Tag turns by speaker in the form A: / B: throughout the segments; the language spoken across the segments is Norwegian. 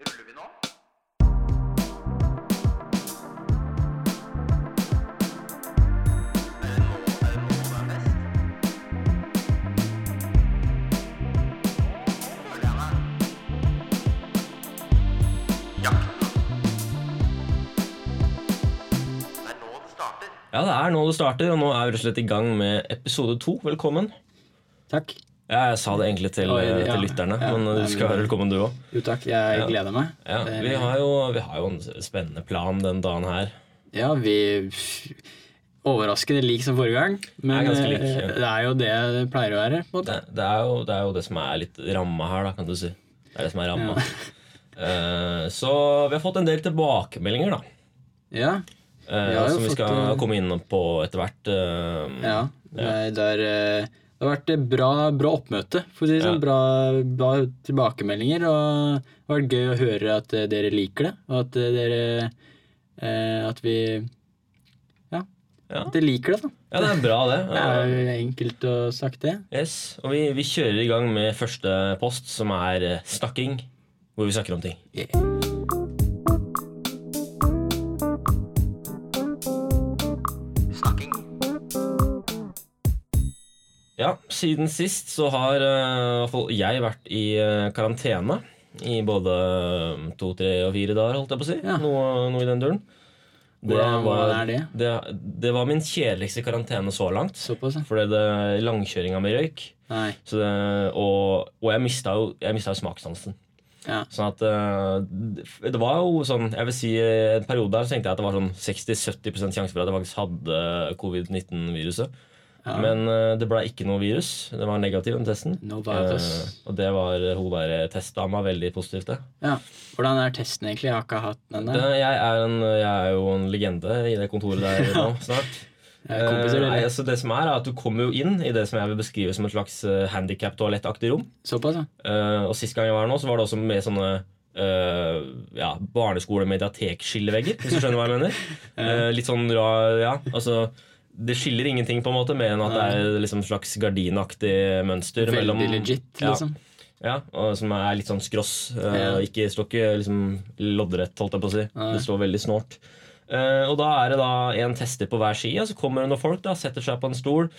A: Ruller vi nå?
B: Ja, det er nå det starter, og nå er vi rett og slett i gang med episode to. Velkommen.
C: Takk.
B: Ja, jeg sa det egentlig til,
C: Oi, ja.
B: til lytterne,
C: Ja,
B: men
C: nei,
B: du skal
C: men-
B: være velkommen, du òg.
C: Jo takk, jeg gleder meg. Eh,
B: Ja,
C: Det er-
B: vi, har jo- vi har jo en spennende plan den dagen her.
C: ja, vi Overraskende lik som forrige gang. Men
B: Det er ganske lik,
C: eh,
B: ja.
C: det er jo det det pleier å være. På en måte.
B: Det, det, er jo, det er jo det som er litt ramma her, da, kan du si. Det er det som er ramma. Eh, så vi har fått en del tilbakemeldinger, da.
C: Ja,
B: eh,
C: Vi har jo
B: som vi
C: fått,
B: skal
C: eh,
B: komme inn på etter hvert. eh,
C: ja. Nei, Det, er, eh, det har vært eh, bra, bra oppmøte. For å si det
B: Ja.
C: sånn, bra, bra tilbakemeldinger. Og det har vært gøy å høre at eh, dere liker det, og at eh, dere eh, At vi Ja.
B: Ja.
C: At dere liker det, da.
B: ja, det er bra, det. Eh,
C: Det er jo enkelt å sagt, det.
B: Yes, og vi, vi kjører i gang med første post, som er eh, snakking. Hvor vi snakker om ting.
A: Snakking.
B: Ja, siden sist så har eh, i hvert fall jeg vært i eh, karantene. I både eh, to, tre og fire dager, holdt jeg på å si.
C: Ja.
B: Noe, noe i den duren.
C: Hvordan- hvordan er det?
B: det? Det var min kjedeligste karantene så langt.
C: Såpass, ja.
B: Fordi det langkjøringa mi røyk.
C: Nei.
B: Så det, og, og jeg mista jo, jeg mistet jo smakssansen.
C: Ja.
B: Sånn at eh, Det var jo sånn Jeg vil si eh, en periode der så tenkte jeg at det var sånn 60-70 sjanse for at jeg faktisk hadde covid-19-viruset. Men eh, det ble ikke noe virus. Det var negativ, den testen.
C: No virus.
B: Eh, og det var eh, hun der testdama veldig positivt til.
C: Ja. Hvordan er testen egentlig? Jeg har ikke hatt den
B: Det-
C: ennå.
B: Jeg, er en- jeg er jo en legende i det kontoret der nå snart.
C: Jeg er kompiser,
B: Eh,
C: eller?
B: nei, altså det som er, er at Du kommer jo inn i det som jeg vil beskrive som et slags handikap-toalettaktig rom.
C: Såpass, ja.
B: Eh, og sist gang jeg var her nå, så var det også med sånne uh, ja, barneskole-mediatekskillevegger, hvis du skjønner hva jeg mener. Eh, litt sånn rar Ja, altså det skiller ingenting på en måte mer enn at det er liksom slags gardinaktig mønster.
C: Veldig
B: mellom,
C: legit, liksom.
B: Ja, ja og som er litt sånn skross. eh,
C: Ja.
B: Ikke står ikke liksom loddrett, holdt jeg på å si.
C: Nei.
B: Det står veldig snålt. Eh, og da er det da en tester på hver side, så kommer det noen folk, da, setter seg på en stol.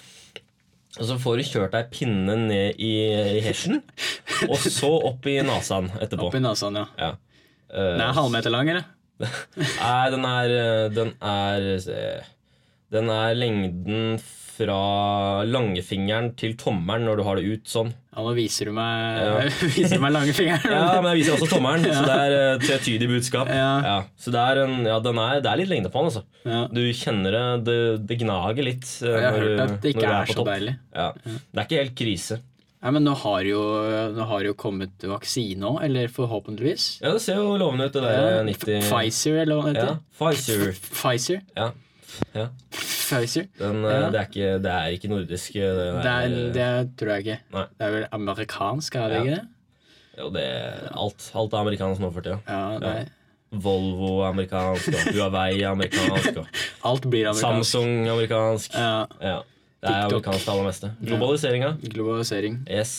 B: Og så får du kjørt deg pinne ned i, i hesjen, og så opp i nasaen etterpå.
C: Oppi nesen, ja.
B: Ja. Eh,
C: Den er halvmeter lang, eller?
B: nei, den er eh, Den er eh, Den er lengden fra langfingeren til tommelen når du har det ut sånn.
C: Ja, nå viser du meg, viser du meg langfingeren.
B: Ja, men jeg viser også tommelen, så det er eh, tvetydig budskap.
C: Ja.
B: Så det er, en, ja, den er, det er litt lengde på den, altså.
C: Ja.
B: Du kjenner det, det, det gnager litt. eh,
C: Jeg har
B: når du-
C: hørt at det
B: når
C: ikke
B: du
C: er
B: på
C: så
B: topp.
C: deilig.
B: Ja. Det er ikke helt krise.
C: Nei, men nå har jo, nå har jo kommet vaksine òg, eller forhåpentligvis.
B: Ja, det ser jo lovende ut, det der
C: Ja,
B: 90
C: Pfizer, eller hva det
B: Ja,
C: heter.
B: Pfizer.
C: Pfizer.
B: Ja. ja.
C: Pfizer.
B: Den, eh,
C: Ja.
B: Det, er ikke, det er ikke nordisk. eh, Det
C: Det,
B: er,
C: er, det tror jeg ikke.
B: Nei.
C: Det er vel amerikansk, er
B: Ja.
C: det ikke det?
B: jo, det er alt, alt er amerikansk nå for tida.
C: Ja, nei.
B: Volvo er amerikansk, og Huawei er amerikansk, og
C: Alt blir amerikansk.
B: Samsung er amerikansk.
C: Ja.
B: Ja. Det er
C: TikTok.
B: amerikansk det aller meste. Globaliseringa.
C: Globalisering.
B: Yes.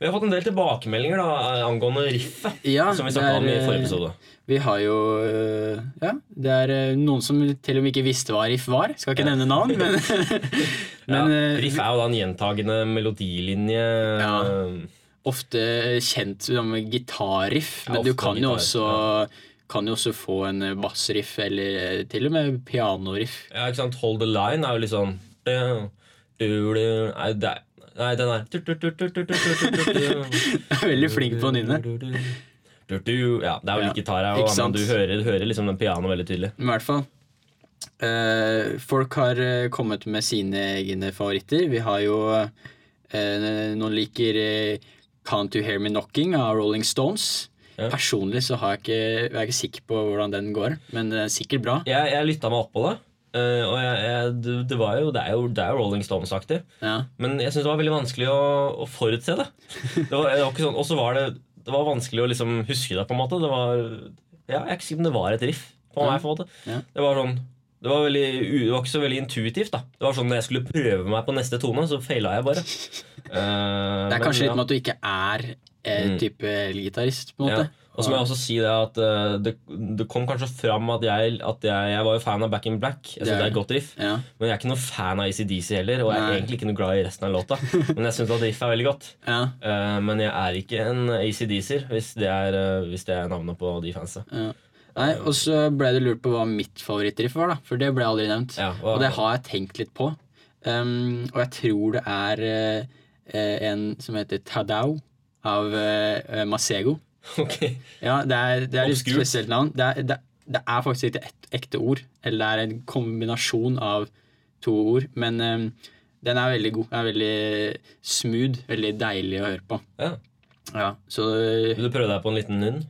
B: Vi har fått en del tilbakemeldinger da, angående riffet,
C: Ja,
B: som vi
C: det
B: snakka
C: er,
B: om i
C: eh,
B: forrige episode.
C: Vi har jo øh, Ja, det er øh, noen som til og med ikke visste hva riff var. Skal ikke nevne navn, men, men
B: ja,
C: øh,
B: riff er jo da en gjentagende melodilinje.
C: Ja.
B: eh,
C: ofte kjent som gitarriff.
B: Ja,
C: Men du
B: ofte
C: kan
B: gitar,
C: jo også kan jo også få en bassriff, eller eh, til og med pianoriff.
B: Ja, ikke sant? Hold the line er jo litt sånn du- du- du- Nei, det er- nei, den er du- du- du- du- du- du- du- du- du-
C: Jeg er Veldig flink på å nynne.
B: du- du- du- du- Ja, det er jo
C: Ja,
B: litt gitar her,
C: ikke
B: også, men
C: sant?
B: du hører, du hører liksom den pianoen veldig tydelig.
C: Men i hvert fall eh, Folk har eh, kommet med sine egne favoritter. Vi har jo eh, Noen liker eh, Can't You Hear Me Knocking av Rolling Stones.
B: Ja.
C: Personlig så har jeg ikke, jeg er ikke sikker på hvordan den går, men den er sikkert bra.
B: Jeg, jeg lytta meg opp på det, eh, og jeg, jeg, det, det, var jo, det er jo det er jo Rolling Stones-aktig.
C: Ja.
B: Men jeg syns det var veldig vanskelig å, å forutse det. det, var, det var ikke sånn, og så var det Det var vanskelig å liksom huske det, på en måte. Det var, ja, jeg er ikke sikker på om det var et riff på
C: Ja.
B: meg. på en måte
C: Ja.
B: Det var sånn det var, veldig, u- det var ikke så veldig intuitivt. da Det var sånn Når jeg skulle prøve meg på neste tone, så feila jeg bare. Eh,
C: Det er
B: men
C: kanskje
B: ja.
C: litt med at du ikke er eh,
B: Mm.
C: type gitarist, på en
B: Ja.
C: måte.
B: Og så må jeg også si det at eh, det, det kom kanskje fram at jeg, at jeg, jeg var jo fan av Back in Black. Jeg synes
C: Det er-
B: det er et godt riff.
C: ja.
B: Men jeg er ikke noen fan av ACDC heller, og jeg er
C: Nei.
B: egentlig ikke noe glad i resten av låta. Men jeg syns at riffet er veldig godt.
C: Ja,
B: Eh, men jeg er ikke en ACDC-er, hvis, det er, eh, hvis det er navnet på de fansa.
C: ja. Nei, og så ble det lurt på hva mitt favorittriff var, da. For det ble aldri nevnt.
B: Ja,
C: Og
B: og,
C: det har jeg tenkt litt på. Um, og jeg tror det er eh, eh, en som heter Tadao av eh, Masego.
B: Ok.
C: Ja, det er, det er litt
B: Obskurt.
C: spesielt navn. Det er, det, det er faktisk ikke et ekte ord. Eller det er en kombinasjon av to ord. Men eh, den er veldig god. Den er veldig smooth. Veldig deilig å høre på.
B: ja.
C: Ja, så
B: Vil du prøve deg på en liten nynn?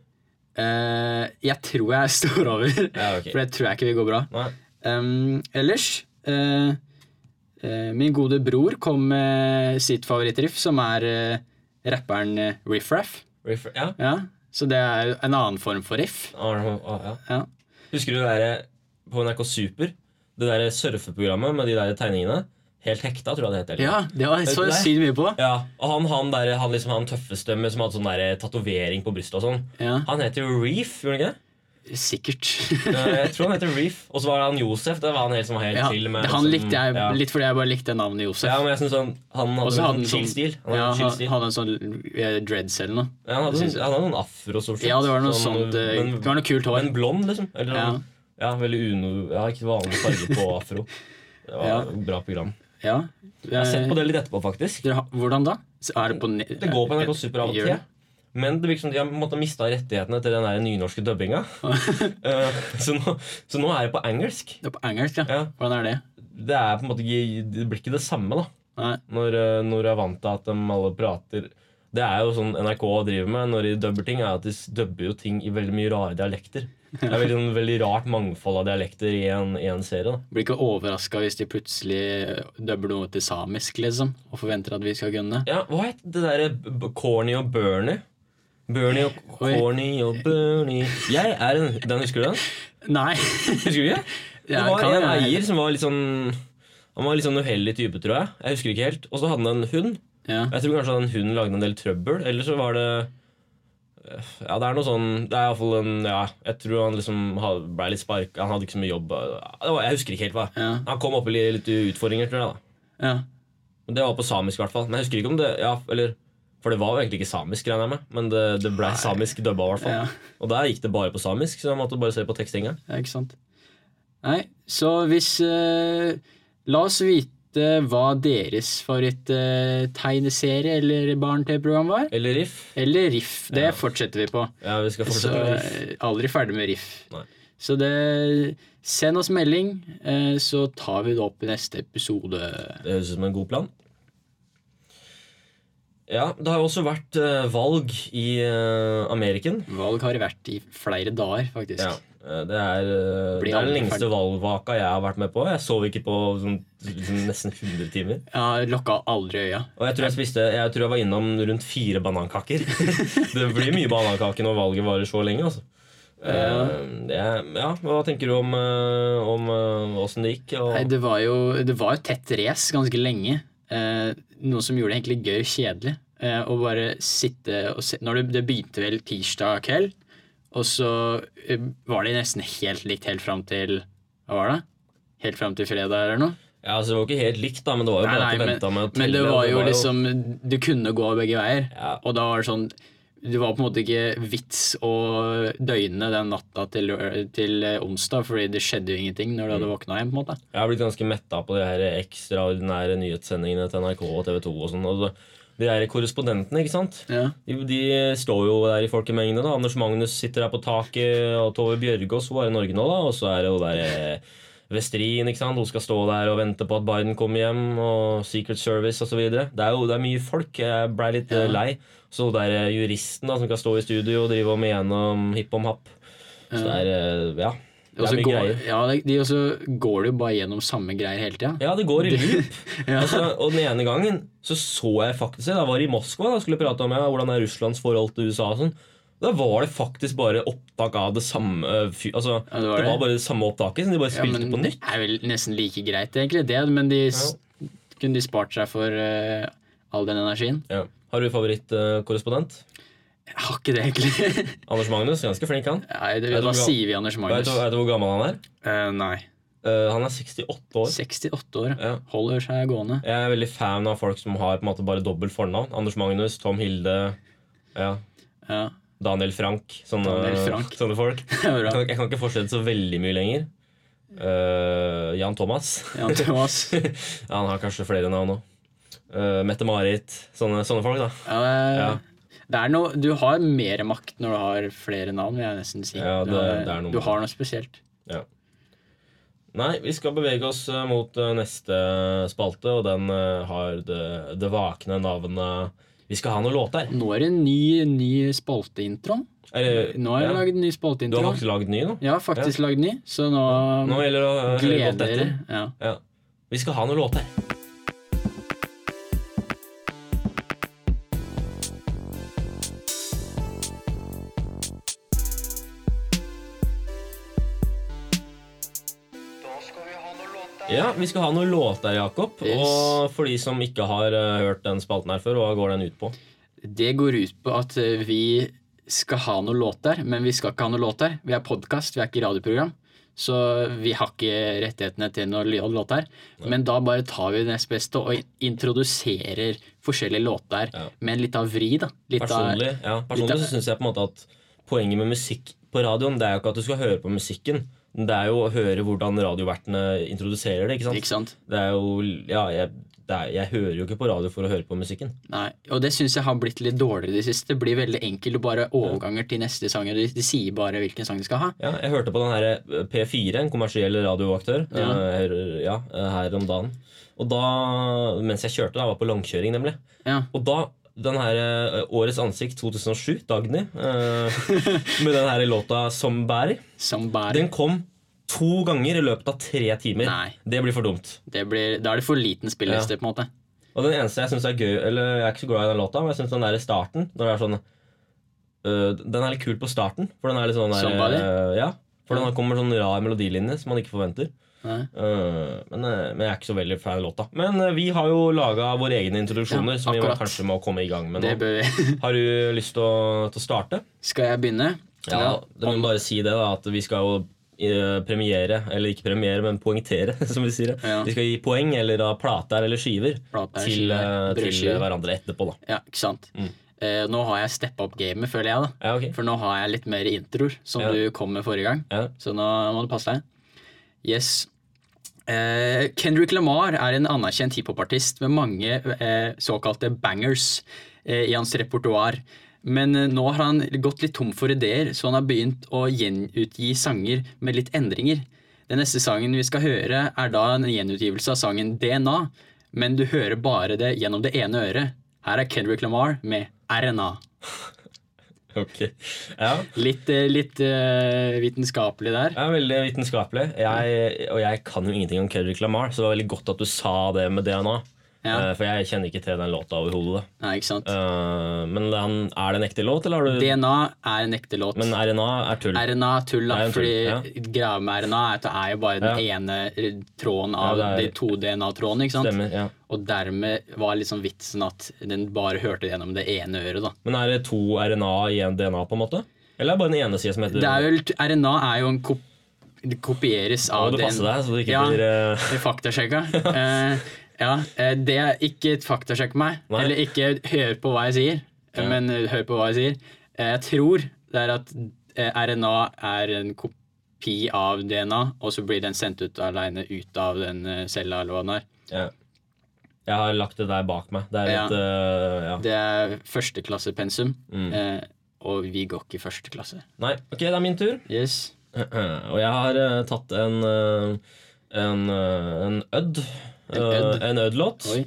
C: eh, jeg tror jeg står over.
B: Ja, ok.
C: For det tror jeg ikke vil gå bra.
B: Nei.
C: Um, ellers eh, eh, Min gode bror kom med sitt favorittriff, som er eh, rapperen eh, Riff Raff.
B: Refer ja.
C: Ja, så det er jo en annen form for riff.
B: Arnold- å, ja.
C: Ja.
B: Husker du det der på NRK Super? Det der surfeprogrammet med de der tegningene? Helt hekta, tror jeg det het. eller?
C: Ja, det var jeg så
B: Vet du det?
C: sykt mye på.
B: Ja, og han, han, der, han, liksom, han tøffeste med som hadde sånn der tatovering på brystet og sånn.
C: Ja,
B: Han heter jo Reef, gjorde han ikke det?
C: sikkert.
B: Eh, Jeg tror han heter Reef. Og så var det han Josef. Det var han helt som var helt
C: ja,
B: chill. Med,
C: det- han
B: liksom-
C: likte jeg
B: ja.
C: litt fordi jeg bare likte navnet Josef.
B: Ja, men jeg synes han, han hadde
C: Og
B: en sånn
C: så hadde han
B: chill
C: sånn-
B: stil. Han hadde
C: Ja,
B: en chill
C: han
B: stil.
C: hadde en sånn eh, dreads eller noe.
B: Ja, han, hadde sånn, han hadde noen afro som
C: Ja, det var noe sånt. eh,
B: Sånn, men,
C: Det var noe kult hår.
B: men blond, liksom. Eller,
C: Ja.
B: ja. veldig uno... Ja, ikke vanlig farge på afro. Det var
C: Ja. Eh,
B: et bra program.
C: Ja.
B: Jeg har sett på det litt etterpå, faktisk.
C: Dere har- Hvordan da? Så Er det på ne-
B: Det går på NRK Super av og
C: Gjør
B: til.
C: det?
B: Men det virker som de har måttet mista rettighetene til den der nynorske dubbinga. Eh, så, nå, så nå er det på engelsk.
C: Det er på engelsk, ja.
B: Ja,
C: Hvordan er det?
B: det er på en måte ikke, det blir ikke det samme da
C: Nei.
B: når, eh, når jeg er vant til at de alle prater Det er jo sånn NRK driver med når de dubber ting, er at de s- dubber jo ting i veldig mye rare dialekter. Det er veldig, sånn, veldig rart mangfold av dialekter i en, i en serie. da
C: Blir ikke overraska hvis de plutselig eh, dubber noe til samisk, liksom, og forventer at vi skal kunne det.
B: Ja, Hva het det derre b- b- Corny og Bernie? Bernie og
C: Oi.
B: Corny og Bernie Jeg er en Den husker du den?
C: Nei!
B: Husker du ikke? Det
C: Ja,
B: var
C: kan
B: en
C: hende.
B: eier som var litt sånn Han var litt sånn uheldig type, tror jeg. Jeg husker ikke helt Og så hadde han en hund.
C: Ja.
B: Jeg tror kanskje den hunden lagde en del trøbbel. Eller så var det Ja, det er noe sånn Det er iallfall en Ja, jeg tror han liksom ha- ble litt sparka. Han hadde ikke så mye jobb. Det var, jeg husker ikke helt hva.
C: Ja.
B: Han kom opp i li- litt utfordringer, tror jeg. da
C: ja.
B: Men Det var på samisk, i hvert fall. Men jeg husker ikke om det Ja, eller For det var jo egentlig ikke samisk, regner jeg med. Men det, det blei samisk dubba, i hvert fall.
C: Ja.
B: Og der gikk det bare på samisk, så jeg måtte bare se på tekstinga.
C: ja ikke sant. Nei, så hvis eh, La oss vite hva deres favoritt-tegneserie eller barne-TV-program var.
B: Eller riff.
C: Eller riff. Det fortsetter vi på.
B: Ja, vi skal
C: Så
B: fortsette med riff.
C: eh, aldri ferdig med riff.
B: Nei.
C: Så det Send oss melding, eh, så tar vi det opp i neste episode.
B: Det høres ut som en god plan. Ja, det har jo også vært eh, valg i eh, Ameriken.
C: Valg har det vært i flere dager, faktisk.
B: Ja, eh, det er, eh,
C: Blir
B: det er den
C: aldri
B: lengste
C: ferdig.
B: valgvaka jeg har vært med på. Jeg sov ikke på sånn, liksom, nesten 100 timer.
C: Jeg lokka aldri øya.
B: Og jeg tror jeg, spiste, jeg tror jeg var innom rundt fire banankaker. det blir mye banankaker når valget varer så lenge. altså. Eh, det er- ja, Hva tenker du om, eh, om eh, åssen det gikk? Og,
C: Nei, det var jo det var jo tett race ganske lenge. Eh, noe som gjorde det egentlig gøy og kjedelig. Eh, å bare sitte og se når det, det begynte vel tirsdag kveld, og så eh, var det nesten helt likt helt fram til Hva var det? Helt fram til fredag eller noe?
B: ja, altså, det var ikke helt likt, da, men det var jo
C: Nei,
B: bare
C: nei,
B: at du
C: men,
B: venta med å
C: men det
B: telle, og
C: var jo liksom Du kunne gå begge veier.
B: Ja.
C: Og da var det sånn Det var på en måte ikke vits å døgne den natta til, lø- til eh, onsdag, fordi det skjedde jo ingenting når du
B: Mm.
C: hadde våkna igjen. på en måte
B: Jeg har blitt ganske metta på de her ekstraordinære nyhetssendingene til NRK og TV 2. og sånn. Og det- De her korrespondentene, ikke sant?
C: Ja,
B: De, de står jo der i folkemengdene. da. Anders Magnus sitter der på taket, og Tove Bjørgaas hun er i Norge nå, da. Og så er det jo der eh, Westrin, ikke sant. Hun skal stå der og vente på at Biden kommer hjem, og Secret Service osv. Det er jo det er mye folk. Jeg blei litt eh, lei. Så hun der eh, juristen da, som kan stå i studio og drive og mene om hipp om happ. Så det er eh, Ja. Det
C: Og
B: er
C: så
B: mye
C: går,
B: greier.
C: ja, de- de, og så går det jo bare gjennom samme greier hele tida.
B: Ja, det går i loop.
C: Ja.
B: Altså, og den ene gangen så så jeg faktisk Jeg var i Moskva da, og skulle prate om ja, hvordan er Russlands forhold til USA. og sånn Da var det faktisk bare opptak av det samme eh, fy, altså,
C: Ja, det
B: det,
C: var
B: var
C: det.
B: bare det samme opptaket, som de bare
C: Ja,
B: spilte
C: men
B: på
C: det
B: nytt.
C: er vel nesten like greit, egentlig, det, men de s- kunne de spart seg for eh, all den energien.
B: Ja. Har du favorittkorrespondent?
C: Jeg har ikke det, egentlig.
B: Anders Magnus, ganske flink han.
C: Nei, det,
B: Vet du
C: da
B: hvor-
C: sier vi Anders
B: Vet
C: Magnus.
B: du, vet du hvor gammel han er?
C: Eh, nei.
B: Eh, han er 68 år.
C: 68 år.
B: Ja.
C: Holder seg gående.
B: Jeg er veldig fan av folk som har på en måte bare dobbelt fornavn. Anders Magnus, Tom Hilde, ja,
C: Ja,
B: Daniel Frank. Sånne,
C: Daniel Frank.
B: sånne folk.
C: det
B: Jeg
C: er bra.
B: kan, jeg kan ikke fortsette så veldig mye lenger. Eh, Jan Thomas.
C: Jan Thomas.
B: Ja, han har kanskje flere navn òg. Mette-Marit. Sånne, sånne folk, da.
C: Ja,
B: Ja.
C: det, det er noe, du har mer makt når du har flere navn, vil jeg nesten si.
B: Ja, det-
C: du, har,
B: det er noe med
C: du har noe spesielt.
B: Nei, vi skal bevege oss eh, mot eh, neste spalte, og den eh, har det, det vakne navnet Vi skal ha noen låter.
C: Nå er det en ny, ny spalteintro.
B: Er det-
C: Nå har jeg
B: ja.
C: laget en
B: Du
C: ny
B: har
C: spalteintro.
B: faktisk lagd ny nå?
C: Ja, faktisk lagd ny, så nå,
B: Nå gjelder det å eh, høre
C: gleder
B: godt
C: dere.
B: etter.
C: Ja.
B: Ja. Vi skal ha noen låter. Ja, vi skal ha noen låter, Jakob.
C: Yes.
B: Og for de som ikke har eh, hørt den spalten her før, hva går den ut på?
C: Det går ut på at eh, vi skal ha noen låter, men vi skal ikke ha noen låter. Vi er podkast, vi er ikke radioprogram. Så vi har ikke rettighetene til noen li- låter. Men da bare tar vi det nest beste og introduserer forskjellige låter
B: Ja.
C: med en litt av vri. da. Litt
B: Personlig, ja, personlig
C: litt av-
B: så syns jeg på en måte at poenget med musikk på radioen, det er jo ikke at du skal høre på musikken. Det er jo å høre hvordan radiovertene introduserer det. ikke
C: Av,
B: sant?
C: ikke sant?
B: Det er jo, ja, jeg, det er, jeg hører jo ikke på radio for å høre på musikken.
C: Nei, Og det syns jeg har blitt litt dårligere i det siste. Det blir veldig enkelt og bare overganger til neste sang. og De, de sier bare hvilken sang de skal ha.
B: Ja, jeg hørte på den her eh, P4, en kommersiell radioaktør,
C: Ja.
B: eh, her, ja, eh, her om dagen. Og da, mens jeg kjørte, da, var på langkjøring, nemlig.
C: Ja.
B: Og da, den her eh, Årets ansikt 2007, Dagny, eh, med den her låta 'Som bærer',
C: Som bærer.
B: den kom to ganger i løpet av tre timer.
C: Nei.
B: Det blir for dumt.
C: Det blir, da er det for liten spilleliste, på en måte.
B: Og den eneste jeg synes er gøy Eller jeg er ikke så glad i den låta, men jeg syns den der i starten Når det er sånn øh, Den er litt kul på starten, for den er litt sånn der,
C: Somebody?
B: øh, Ja. For den kommer sånn rar melodilinje som man ikke forventer.
C: Nei.
B: Øh, men, øh, men jeg er ikke så veldig fan av låta. Men øh, vi har jo laga våre egne introduksjoner,
C: Ja,
B: som vi må-
C: akkurat.
B: kanskje må komme i gang med
C: Det
B: nå.
C: bør vi.
B: Har du lyst til å, til å starte?
C: Skal jeg begynne?
B: Ja, da må vi bare si det, da, at vi skal jo eh, premiere, eller ikke premiere, men poengtere, som vi sier det.
C: Ja.
B: Vi skal gi poeng, eller da plater eller skiver,
C: Plater,
B: til,
C: skiver,
B: eh, til
C: brødskiver.
B: hverandre etterpå, da.
C: Ja, ikke sant? Eh, nå har jeg steppa opp gamet, føler jeg. da
B: Mm. Ja, ok.
C: For nå har jeg litt mer introer, som
B: Ja.
C: du kom med forrige gang.
B: Ja.
C: Så nå må du passe deg. Yes. Eh, Kendrick Lamar er en anerkjent hiphopartist med mange eh, såkalte bangers eh, i hans repertoar. Men eh, nå har han gått litt tom for ideer, så han har begynt å gjenutgi sanger med litt endringer. Den neste sangen vi skal høre, er da en gjenutgivelse av sangen DNA, men du hører bare det gjennom det ene øret. Her er Kendrick Lamar med RNA.
B: Ok. Ja.
C: Litt, eh, litt eh, vitenskapelig der.
B: Det er veldig vitenskapelig. Jeg, og jeg kan jo ingenting om Kendrick Lamar, så det var veldig godt at du sa det med DNA.
C: Ja.
B: Eh, For jeg kjenner ikke til den låta overhodet.
C: Nei, ikke sant?
B: Eh, men den, er det en ekte låt, eller har du
C: DNA er en ekte låt.
B: Men RNA er tull.
C: RNA er tull, da,
B: Det er en tull,
C: fordi
B: ja.
C: greia med RNA er at det er jo bare den ene tråden av
B: Ja, det er-
C: de to DNA-trådene. ikke sant?
B: Stemmer. ja
C: Og dermed var liksom vitsen at den bare hørte gjennom det ene øret. da.
B: Men er det to RNA i en DNA, på en måte? Eller er det bare den ene sida som heter
C: Det er jo, RNA er jo en kop det kopieres
B: Må
C: av
B: du passe deg, så det ikke
C: ja,
B: blir eh,
C: det er Faktasjekka. Eh, ja, eh, det er ikke et faktasjekk meg.
B: Nei.
C: Eller ikke hør på hva jeg sier,
B: Ja.
C: men eh, hør på hva jeg sier. Eh, jeg tror det er at eh, RNA er en kopi av DNA, og så blir den sendt ut alene ut av den eh, cella eller hva den er.
B: ja. Jeg har lagt det der bak meg. Det er
C: Ja.
B: litt eh, ja.
C: Det er førsteklassepensum,
B: Mm.
C: eh, og vi går ikke i første klasse.
B: Nei, ok, det er min tur.
C: Yes.
B: Og jeg har eh, tatt en eh, en, eh, en ødd.
C: En
B: Eh,
C: ødd?
B: En ødd-låt.
C: Oi.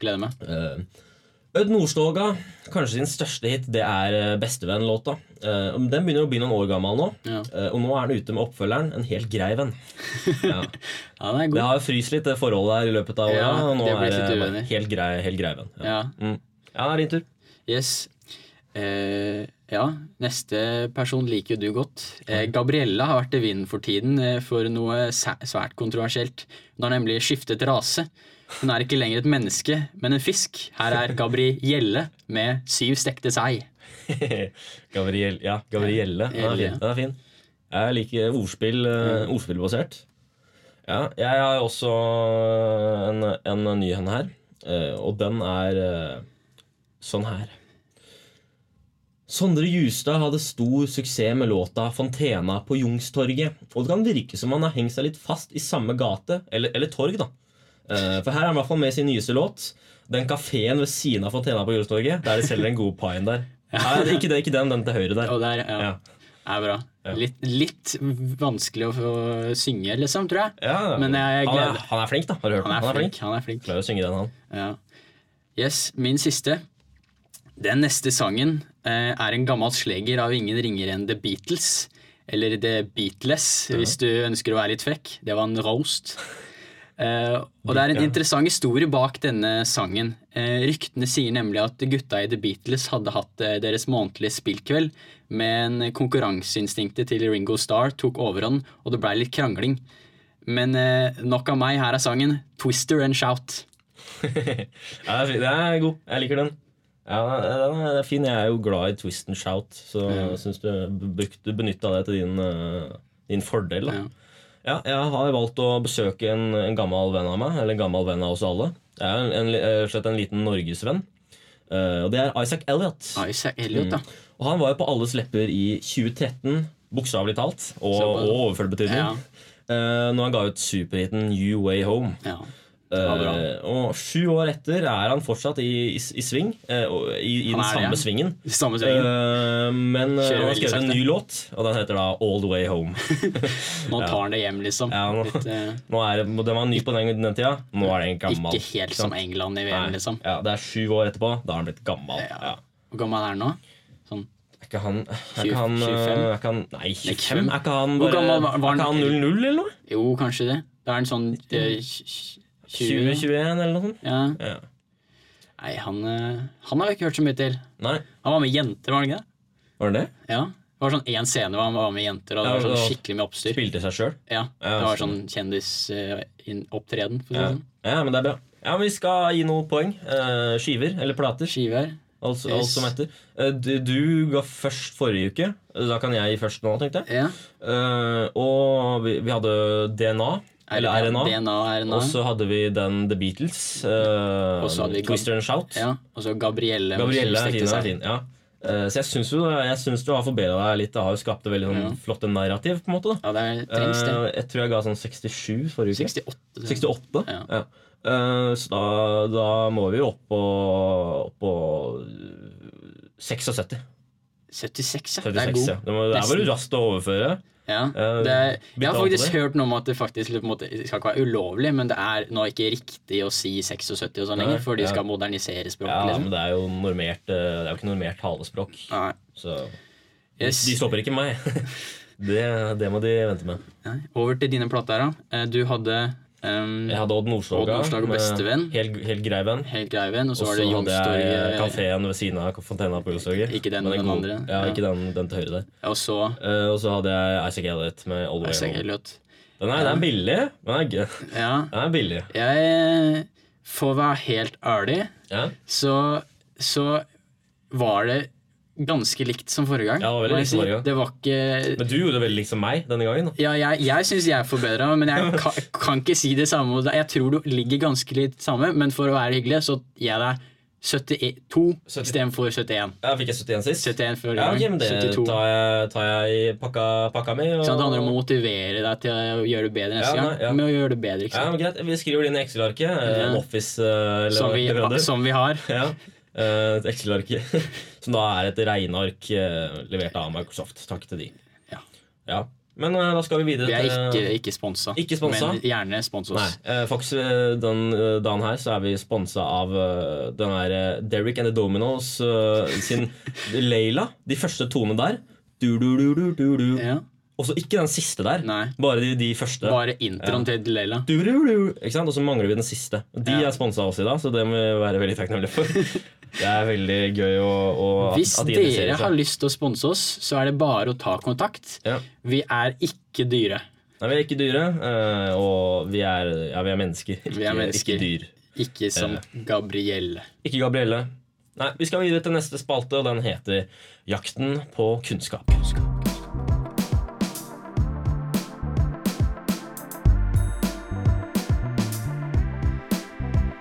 C: Gleder meg.
B: Eh, Ødd Nordstoga, kanskje sin største hit, det er eh, Bestevenn-låta. Eh, Den begynner å bli noen år gammel nå,
C: Ja.
B: eh, og nå er den ute med oppfølgeren, En helt grei venn. Ja.
C: Ja, den er
B: Det
C: god.
B: har jo fryst litt, det forholdet her i løpet av året.
C: Ja,
B: og nå
C: det blir
B: er det
C: litt
B: bare
C: uenig.
B: helt grei, helt grei venn. Ja.
C: Ja.
B: Mm. ja, det er din tur.
C: Yes. Eh, ja, neste person liker jo du godt. Eh, Gabriella har vært i vinden for tiden eh, for noe sæ- svært kontroversielt. Hun har nemlig skiftet rase. Hun er ikke lenger et menneske, men en fisk. Her er Gabrielle med syv stekte sei.
B: Gabriel, ja, Gabrielle. Den er fin. Den er fin. Jeg liker ordspill, eh,
C: Mm.
B: ordspillbasert. Ja, jeg har også en, en ny en her, eh, og den er eh, sånn her. Sondre Justad hadde stor suksess med låta 'Fontena på Jungstorget', og det kan virke som han har hengt seg litt fast i samme gate, eller, eller torg, da. Eh, For her er han i hvert fall med sin nyeste låt. Den kafeen ved siden av Fontena på Jungstorget, der de selger den gode paien der. Nei, ikke, det, ikke den, den til høyre der.
C: Og der, ja,
B: Ja.
C: er bra. Litt, litt vanskelig å få synge, liksom, tror jeg.
B: Ja,
C: Men
B: han, er,
C: jeg gleder-
B: han er flink, da. Har du hørt
C: Han er flink. Han er flink.
B: Klarer å synge den, han.
C: Ja. Yes, min siste. Den neste sangen eh, er en gammel sleger av ingen ringere enn The Beatles. Eller The Beatles, hvis du ønsker å være litt frekk. Det var en roast. Eh, og det er en
B: Ja.
C: interessant historie bak denne sangen. Eh, ryktene sier nemlig at gutta i The Beatles hadde hatt eh, deres månedlige spillkveld, men konkurranseinstinktet til Ringo Starr tok overhånd, og det blei litt krangling. Men eh, nok av meg, her er sangen. Twister and shout.
B: Ja, det er fin- den er god. Jeg liker den. Ja, den er, den er fin. Jeg er jo glad i twist and shout, så jeg syns du brukte benytta det til din, eh, din fordel. da.
C: Ja.
B: Ja, jeg har valgt å besøke en, en gammel venn av meg, eller en gammel venn av oss alle. Jeg er en- en, li- eh, slett en liten norgesvenn. Eh, og det er Isaac Elliot.
C: Isaac Elliot, da.
B: Og han var jo på alles lepper i 2013, bokstavelig talt, og,
C: Såpass.
B: og overført betydning.
C: Ja.
B: eh, når han ga ut superhiten You Way Home.
C: Ja. var bra.
B: Eh, og sju år etter er han fortsatt i, i, i sving, eh, og i, i den
C: Han er det,
B: samme
C: ja.
B: svingen.
C: Samme svingen.
B: Eh, men eh,
C: Kjører
B: han har
C: veldig
B: skrevet en
C: sakte.
B: ny låt, og den heter da All The Way Home.
C: Nå tar han det hjem, liksom.
B: eh, Ja, nå-
C: Litt, eh,
B: Nå er, det- den var ny på den, den tida, nå er den gammel.
C: ikke helt som England i VM,
B: Nei.
C: liksom.
B: Ja, det er sju år etterpå, da er han blitt gammel.
C: Ja.
B: Ja.
C: Hvor gammel er han nå? Sånn.
B: Er ikke han, er ikke han,
C: 25?
B: eh, er ikke han Nei, 25? Er ikke han,
C: Hvor
B: bare,
C: gammel var- var
B: er ikke
C: han-
B: han 00 eller noe?
C: Jo, kanskje det. Da er han sånn eh, tj- tj- 20
B: 2021 eller noe sånt?
C: Ja.
B: Ja.
C: Nei, han, eh, han har jeg ikke hørt så mye til.
B: Nei,
C: Han var med jenter, var han ikke det?
B: var det det?
C: Ja. Det var sånn én scene hvor han var med jenter, og det
B: Ja,
C: var sånn
B: og-
C: skikkelig mye oppstyr.
B: Spilte seg sjøl?
C: Ja, Det
B: Ja,
C: var sånn eh,
B: sånn.
C: kjendisopptreden.
B: Ja.
C: Sånn.
B: ja, men det er bra. Ja, men Vi skal gi noen poeng. Eh, skiver eller plater.
C: Skive her.
B: Alt,
C: Yes.
B: alt som heter. Eh, du, du ga først forrige uke. Da kan jeg gi først nå, tenkte jeg.
C: Ja.
B: Eh, og vi, vi hadde DNA. Eller RNA.
C: DNA, RNA.
B: Og så hadde vi den The Beatles. eh,
C: Og så hadde vi Gab-
B: Twister and Shout.
C: Ja, og så Gabrielle.
B: Gabrielle
C: som
B: er fin.
C: stekte
B: Er
C: seg.
B: fin ja. Eh, så jeg syns jo jeg syns du har forbedra deg litt. Det har jo skapt et veldig sånn,
C: Ja.
B: flotte narrativ. på en måte da.
C: Ja, det er- trengs det.
B: Eh, jeg tror jeg ga sånn 67 forrige uke.
C: 68. tror jeg.
B: 68?
C: Ja.
B: Ja. Eh, så da, da må vi jo opp på, opp på 76.
C: 76,
B: 76
C: ja. det er god.
B: ja. Det må- det er bare
C: Nesten.
B: raskt å overføre.
C: Ja.
B: Eh,
C: Det er, jeg
B: bytte
C: har
B: an på
C: faktisk
B: det.
C: hørt noe om at det faktisk på en måte, det skal ikke være ulovlig, men det er nå ikke riktig å si 76 og sånn
B: Nei,
C: lenger, for de
B: ja.
C: skal modernisere språket.
B: Ja, men
C: liksom.
B: det er jo normert eh, Det er jo ikke normert talespråk.
C: Nei.
B: Så
C: Yes.
B: de stopper ikke meg. det, det må de vente med.
C: Nei. Over til dine plater, da. Eh, Du hadde um,
B: Jeg hadde Odd
C: Odd
B: Nordstoga.
C: Nordstoga,
B: med
C: bestevenn.
B: Helt, helt grei venn.
C: Helt grei venn, og så
B: Og
C: var
B: så
C: det
B: hadde jeg
C: Youngstorget.
B: kafeen ved siden av fontena på Jungstorget.
C: Ikke den,
B: Men
C: den
B: god-
C: andre.
B: Ja,
C: Ja.
B: ikke den, den til høyre der.
C: Og så
B: Eh, og så hadde jeg Isaac Elliot med All The
C: Isaac
B: Way Home.
C: Elliot.
B: Den er, den er billig. Den er, gøy.
C: Ja.
B: den er billig.
C: Jeg eh, får være helt ærlig.
B: Ja.
C: så, så var det ganske likt som forrige gang.
B: Ja, det var veldig
C: må jeg
B: likt som forrige gang.
C: Det var ikke
B: Men du gjorde veldig likt som meg denne gangen. da.
C: ja, jeg, jeg syns jeg forbedra meg, men jeg kan, kan ikke si det samme. om deg. Jeg tror du ligger ganske litt samme, men for å være hyggelig, så gir jeg deg 72
B: 70.
C: istedenfor 71.
B: Ja, fikk jeg 71 sist?
C: 71 forrige
B: ja,
C: gang.
B: ok, men det
C: 72.
B: tar jeg, tar jeg i pakka, pakka mi. og-
C: Så det handler om å motivere deg til å gjøre det bedre neste
B: Ja, nei, ja.
C: gang. Med å gjøre det bedre, ikke
B: ja,
C: sant?
B: men Greit, vi skriver det inn i Excel-arket. eh, En
C: Ja.
B: Office-leverandør.
C: som, vi, som vi har.
B: ja. eh, Et Excel-ark som da er et regneark eh, levert av Microsoft. Takk til de.
C: Ja.
B: Ja. Men eh, da skal vi videre
C: Vi er ikke,
B: til
C: ikke sponsa.
B: Ikke sponsa?
C: Men gjerne spons
B: Nei,
C: oss.
B: eh, faktisk eh, den eh, dagen her så er vi sponsa av eh, den her eh, Derrick and the Dominoes eh, sin Leila. De første tonene der. Du, du, du, du, du, du.
C: Ja.
B: Også ikke den siste der.
C: Nei.
B: Bare de, de første.
C: Bare introen til Leila.
B: Du, du, du. Ikke sant? Og så mangler vi den siste. De
C: Ja.
B: er sponsa av oss i dag, så det må vi være veldig takknemlige for. Det er veldig gøy å, å at-
C: Hvis
B: at de interesserer
C: dere
B: seg.
C: har lyst til å sponse oss, så er det bare å ta kontakt.
B: Ja.
C: Vi er ikke dyre.
B: Nei, Vi er ikke dyre, eh, og vi er, ja, vi er mennesker.
C: Vi er mennesker.
B: Ikke dyr.
C: Ikke som Gabrielle.
B: Ikke Gabrielle. Nei, Vi skal videre til neste spalte, og den heter 'Jakten på kunnskap'.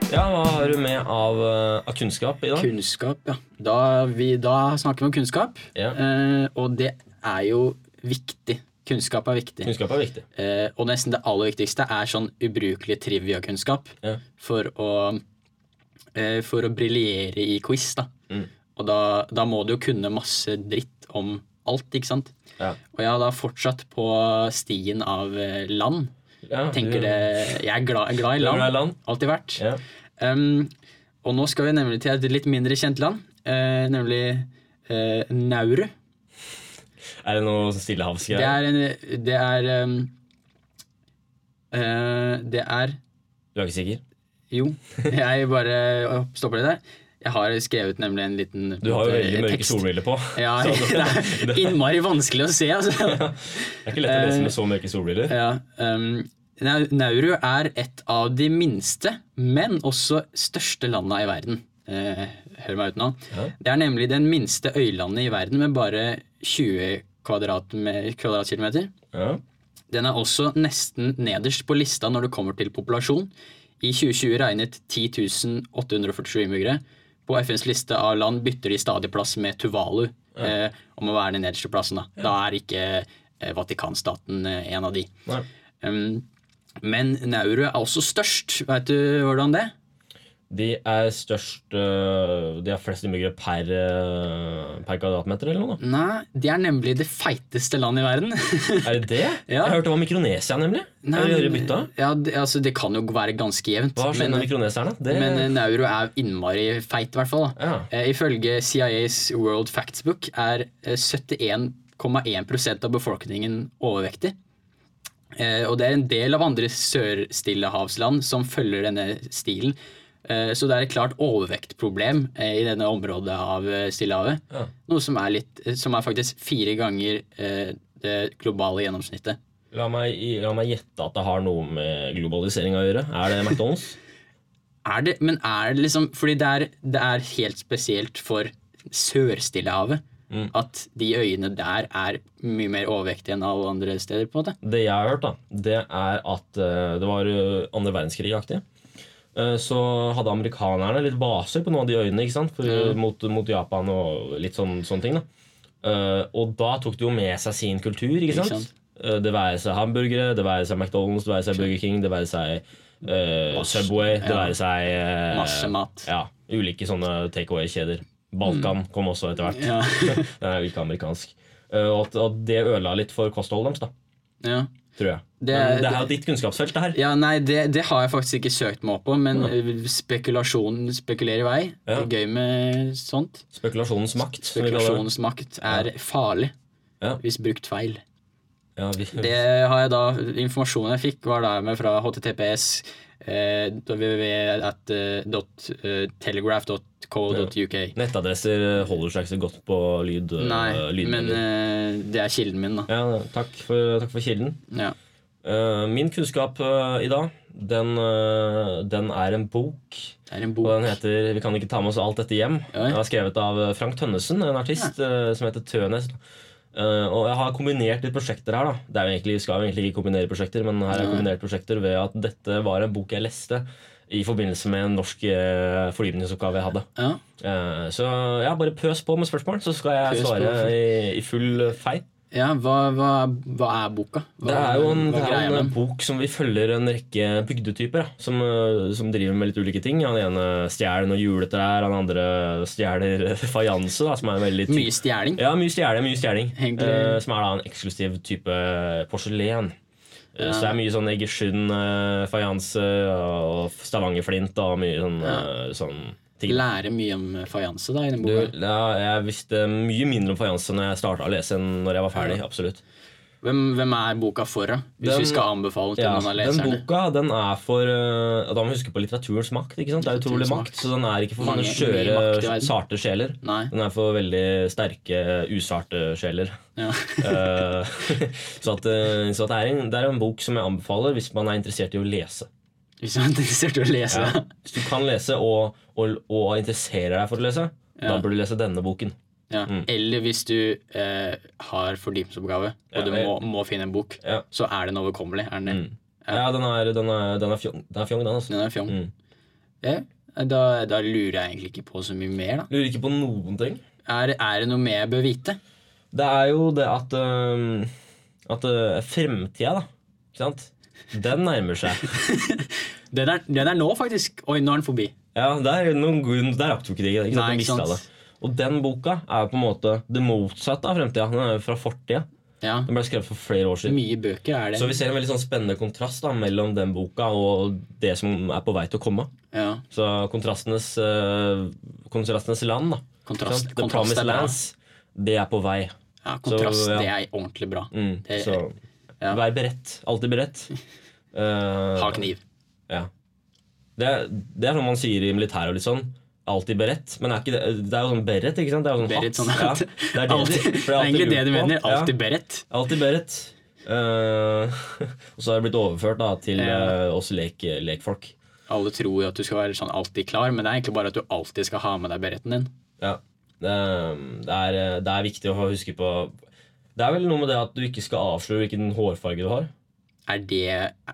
B: Ja, Hva har du med av, eh, av kunnskap i dag?
C: Kunnskap, ja. Da, vi, da snakker vi om kunnskap,
B: Ja.
C: eh, og det er jo viktig. Kunnskap er viktig.
B: Kunnskap er viktig.
C: Eh, og nesten det aller viktigste er sånn ubrukelig triviakunnskap
B: Ja.
C: for å, eh, for å briljere i quiz. da.
B: Mm.
C: Og da, da må du jo kunne masse dritt om alt, ikke sant?
B: Ja.
C: Og jeg har da fortsatt på stien av eh, land.
B: Ja,
C: Tenker
B: du-
C: det, Jeg er glad, glad i
B: du er glad i
C: land.
B: land.
C: Alltid vært.
B: Ja.
C: Um, og nå skal vi nemlig til et litt mindre kjent land, eh, nemlig eh, Nauru.
B: Er det noe
C: Det
B: stillehavsgreier?
C: er en Det er um, eh, Det er
B: Du er ikke sikker?
C: Jo, jeg bare stopper det der. Jeg har skrevet nemlig en liten
B: Du har jo
C: eh,
B: veldig mørke
C: tekst.
B: solbriller på.
C: Ja,
B: Så
C: det
B: det-
C: er innmari vanskelig å se, altså.
B: Det er ikke lett å lese med så mørke solbriller.
C: Ja, um, Nau- Nauru er et av de minste, men også største landa i verden. Eh, hør meg ut nå.
B: Ja.
C: Det er nemlig den minste øylandet i verden med bare 20 kvadratme- kvadratkilometer.
B: Ja.
C: Den er også nesten nederst på lista når det kommer til populasjon. I 2020 regnet 10.847 innbyggere. På FNs liste av land bytter de stadig plass med Tuvalu eh, om å være den nederste plassen. Da, da er ikke eh, Vatikanstaten eh, en av de.
B: Nei.
C: Um, men Nauru er også størst. Veit du hvordan det?
B: De er størst øh, De har flest innbyggere per, øh, per kvadratmeter, eller noe? da.
C: Nei, de er nemlig det feiteste landet i verden.
B: Er det det?
C: Ja.
B: Jeg hørte det var Mikronesia, nemlig.
C: Nei,
B: er det
C: men-
B: bytta?
C: Ja, det, altså, det kan jo være ganske jevnt.
B: Hva skjer
C: Men,
B: med mikroneserne? Det,
C: men eh, Nauru er innmari feit, i hvert fall. Da.
B: ja.
C: Eh, Ifølge CIAs World Facts Book er eh, 71,1 av befolkningen overvektig. Eh, Og det er en del av andre sørstillehavsland som følger denne stilen. Eh, Så det er et klart overvektproblem eh, i denne området av eh, Stillehavet.
B: Ja.
C: Noe som er, litt, eh, som er faktisk fire ganger eh, det globale gjennomsnittet.
B: La, meg, la meg gjette at det har noe med globalisering å gjøre. Er det McDonald's?
C: Er det, men er det liksom Fordi det er, det er helt spesielt for Sør-Stillehavet
B: Mm.
C: at de øyene der er mye mer overvektige enn alle andre steder, på en måte.
B: Det jeg har hørt, da, det er at eh, det var eh, andre verdenskrig-aktig. Eh, Så hadde amerikanerne litt baser på noen av de øyene ikke sant? For, eh, mot, mot Japan og litt sånn, sånne ting. da Eh, Og da tok de jo med seg sin kultur. Ikke sant?
C: sant.
B: Eh, Det være seg hamburgere, det være seg McDonald's, det være seg Burger King, det være seg eh,
C: Masse-
B: Subway, det
C: ja.
B: være seg eh,
C: Masse mat.
B: Ja, Ulike sånne takeaway-kjeder. Balkan kom også etter hvert.
C: Mm. Ja.
B: det er jo ikke amerikansk. Eh, Og at, at det ødela litt for kostholdet deres. da
C: Ja.
B: tror jeg.
C: Det er-
B: men det er jo ditt kunnskapsfelt, det her.
C: Ja, nei, det, det har jeg faktisk ikke søkt meg opp på, men eh, spekulasjonen spekulerer i vei.
B: Ja.
C: Det er gøy med sånt.
B: Spekulasjonens makt. som vi kaller det.
C: Spekulasjonens makt er farlig
B: Ja.
C: hvis brukt feil.
B: Ja, vi,
C: Det har jeg da, Informasjonen jeg fikk, var da med fra https eh, www.telegraph.co.uk.
B: Nettadresser holder seg ikke så godt på lyd. øh,
C: Nei,
B: lydmelder.
C: men eh, det er kilden min, da.
B: ja, takk, for, takk for kilden.
C: Ja.
B: Eh, min kunnskap eh, i dag, den, eh, den er en bok.
C: Det er en
B: Og
C: bok.
B: den heter 'Vi kan ikke ta med oss alt dette hjem'.
C: Oi.
B: Den er skrevet av eh, Frank Tønnesen, en artist eh, som heter Tønes. Eh, og jeg har kombinert litt prosjekter her. da Det er jo egentlig, Vi skal jo egentlig ikke kombinere prosjekter, men her har jeg
C: Nei.
B: kombinert prosjekter ved at dette var en bok jeg leste i forbindelse med en norsk eh, fordypningsoppgave jeg hadde.
C: Ja.
B: Eh, så ja, bare pøs på med spørsmål, så skal jeg
C: Pøs på.
B: svare i, i full fei.
C: Ja, hva, hva, hva er boka? Hva,
B: Det er jo en,
C: hva
B: det er
C: greier
B: jo en eh,
C: med den?
B: bok som vi følger en rekke bygdetyper da, som, øh, som driver med litt ulike ting. Han ene stjeler noen juletrær, han andre stjeler fajanse, da, som er en veldig ty-
C: Mye stjeling.
B: eh, Ja, mye stjeling. Mye stjeling
C: Egentlig-
B: Eh, som er da en eksklusiv type porselen. Eh, Så det er mye sånn Egersund eh, fajanse og Stavangerflint og mye sånn, eh, sånn ting.
C: Lære mye om fajanse da, i den
B: Du,
C: boka.
B: ja, jeg visste mye mindre om fajanse når jeg starta å lese enn når jeg var ferdig. absolutt
C: Hvem, hvem er boka for, da? Hvis
B: Den-
C: vi skal anbefale til
B: Ja,
C: noen
B: den
C: av leserne.
B: boka den er for eh, Da må vi huske på litteraturens makt. ikke sant? Det er utrolig
C: Litteraturens
B: makt, så den er ikke for
C: Mange-
B: sånne skjøre,
C: mye makt i verden.
B: sarte sjeler.
C: Nei.
B: Den er for veldig sterke, usarte sjeler.
C: Ja.
B: Eh, så at, eh, så at det, er en, det er en bok som jeg anbefaler hvis man er interessert i å lese.
C: Hvis du er interessert i å lese.
B: Hvis du kan lese og, og, og interesserer deg for å lese, Da burde du lese denne boken.
C: Ja.
B: Mm.
C: Eller hvis du eh, har fordypningsoppgave, og
B: Ja,
C: du
B: det-
C: må, må finne en bok,
B: Ja.
C: så er den overkommelig. Er den, det?
B: Mm. Ja, den er, den er, den er fjong, den, er fjong, den altså.
C: den er fjong.
B: Mm.
C: Ja. Da, da lurer jeg egentlig ikke på så mye mer. da.
B: Lurer ikke på noen ting.
C: Er, er det noe mer jeg bør vite?
B: Det er jo det at øhm, At øh, fremtida, da. Ikke sant? Den nærmer seg.
C: Den er, den er nå, faktisk. Oi, nå er den forbi.
B: Ja, Der, noen grunn, der rakk du ikke det. Ikke sant?
C: Nei,
B: Du
C: ikke sant.
B: mistet Det. Og den boka er jo på en måte det motsatte av fremtida. Den er jo fra fortida.
C: Ja.
B: Den ble skrevet for flere år siden.
C: Mye bøker er det.
B: Så vi ser en veldig sånn spennende kontrast da, mellom den boka og det som er på vei til å komme.
C: ja.
B: Så kontrastenes, øh, kontrastenes land, da.
C: Kontrast,
B: Ikke sant? The
C: kontrast
B: Promised
C: er bra.
B: Lands. Det er på vei.
C: Ja, kontrast
B: Så, ja.
C: det er ordentlig bra.
B: Mm,
C: Det-
B: så
C: ja.
B: vær beredt. Alltid beredt. Eh,
C: Ha kniv.
B: ja. det, er- det er sånn man sier i militæret og litt sånn. Alltid beredt. Men er ikke det, det er jo sånn beret, ikke sant? Det er jo sånn
C: Beredt sånn
B: hatt.
C: at
B: Ja, det er det
C: alltid,
B: de- for
C: det er egentlig det de
B: lurt på.
C: mener.
B: Ja,
C: Alltid beredt.
B: alltid beredt. Eh, og så har det blitt overført da, til
C: Ja.
B: eh, oss lek, lekfolk.
C: Alle tror jo at du skal være sånn alltid klar, men det er egentlig bare at du alltid skal ha med deg beretten din.
B: Ja. Det, det, er, det er viktig å huske på Det er vel noe med det at du ikke skal avsløre hvilken hårfarge du har.
C: Er det,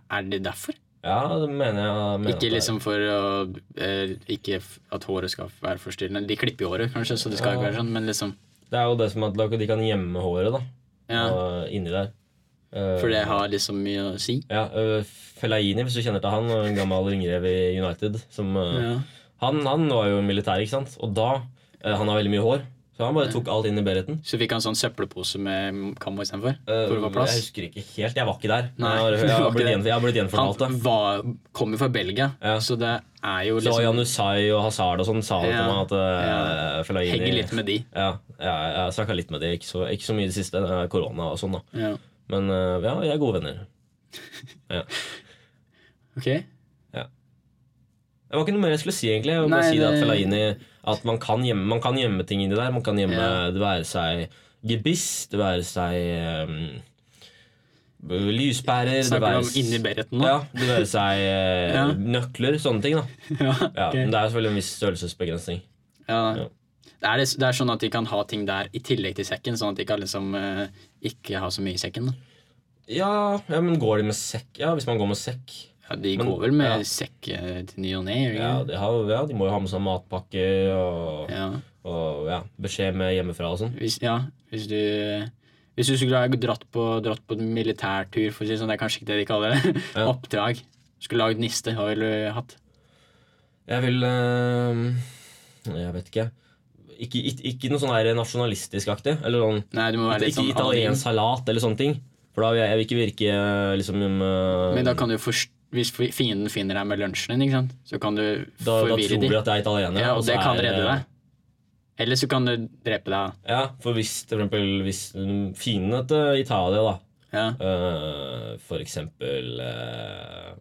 C: er det derfor?
B: Ja, det mener jeg. Mener at
C: Ikke
B: det er-
C: liksom for å eh, Ikke f- at håret skal være forstyrrende. De klipper jo håret, kanskje, så det skal ikke
B: Ja.
C: være sånn, men liksom
B: Det er jo det som at de kan gjemme håret da
C: Ja,
B: og inni der. Eh,
C: for det har liksom mye å si.
B: ja, eh, Fellaini, hvis du kjenner til han, en gammel ringrev i United. Som, eh,
C: Ja.
B: han, han var jo militær, ikke sant? Og da eh, Han har veldig mye hår, så han bare tok alt inn i bereten.
C: Så fikk han sånn søppelpose med kammo istedenfor?
B: Eh,
C: For å få
B: jeg
C: plass?
B: husker ikke helt. Jeg var ikke der.
C: Nei,
B: jeg, har,
C: du
B: jeg,
C: var
B: har
C: ikke
B: blitt
C: der.
B: gjenf- jeg har blitt gjenfortalt det.
C: Han var, kom jo fra Belgia,
B: Ja.
C: så det er jo
B: Så
C: liksom
B: Jan Usai og Hazard og sånn sa det til
C: Ja.
B: meg at eh,
C: Ja.
B: Fellaini
C: Henger litt med de.
B: Ja, jeg, jeg snakka litt med de, ikke så, ikke så mye i det siste. det er Korona og sånn, da.
C: Ja.
B: Men eh, ja, vi er gode venner.
C: Ok.
B: Det var ikke noe mer jeg skulle si, egentlig. Jeg vil bare
C: Nei,
B: si det at
C: det-
B: Fellaini At man kan gjemme, man kan gjemme ting inni der. Man kan gjemme
C: Ja.
B: det være seg gebiss, det være seg ehm, b- lyspærer det
C: Snakker
B: være
C: du om
B: s-
C: inni beretten nå?
B: Ja, det være seg eh,
C: Ja.
B: nøkler, sånne ting. da
C: Ja,
B: ja,
C: ok.
B: Men det er selvfølgelig en viss størrelsesbegrensning.
C: Ja.
B: Ja.
C: Det er, det er sånn at de kan ha ting der i tillegg til sekken, sånn at de kan liksom eh, ikke ha så mye i sekken. da.
B: Ja, ja, men går de med sekk? Ja, hvis man går med sekk.
C: Ja, de
B: Men-
C: går vel med
B: ja.
C: sekk eh, til ny og ne? gjør de
B: Ja,
C: ikke det?
B: de, har, ja, de må jo ha med seg matpakke og,
C: Ja.
B: og ja, beskjed med hjemmefra og sånn.
C: Hvis, ja, hvis du hvis du skulle ha dratt på, dratt på en militærtur, for å si det sånn, det er kanskje ikke det de kaller det,
B: Ja.
C: oppdrag, skulle lagd niste, hva ville du hatt?
B: Jeg vil eh, Jeg vet ikke. Ikke, ikke, ikke noe sånn her nasjonalistisk aktig. Eller sånn,
C: Nei, du må være litt
B: ikke
C: sånn
B: italiensk salat eller sånne ting. For da vil jeg, jeg vil ikke virke eh, liksom eh,
C: Men da kan du forst hvis fienden finner deg med lunsjen din, ikke sant? så kan du
B: da, da
C: forvirre
B: tror
C: dem.
B: de at jeg er italiener.
C: Ja, og
B: så
C: det kan
B: er- eh,
C: redde deg. Eller så kan du drepe deg.
B: Ja, for hvis for eksempel hvis mm, fiendene til Italia, da
C: Ja.
B: eh, For eksempel eh,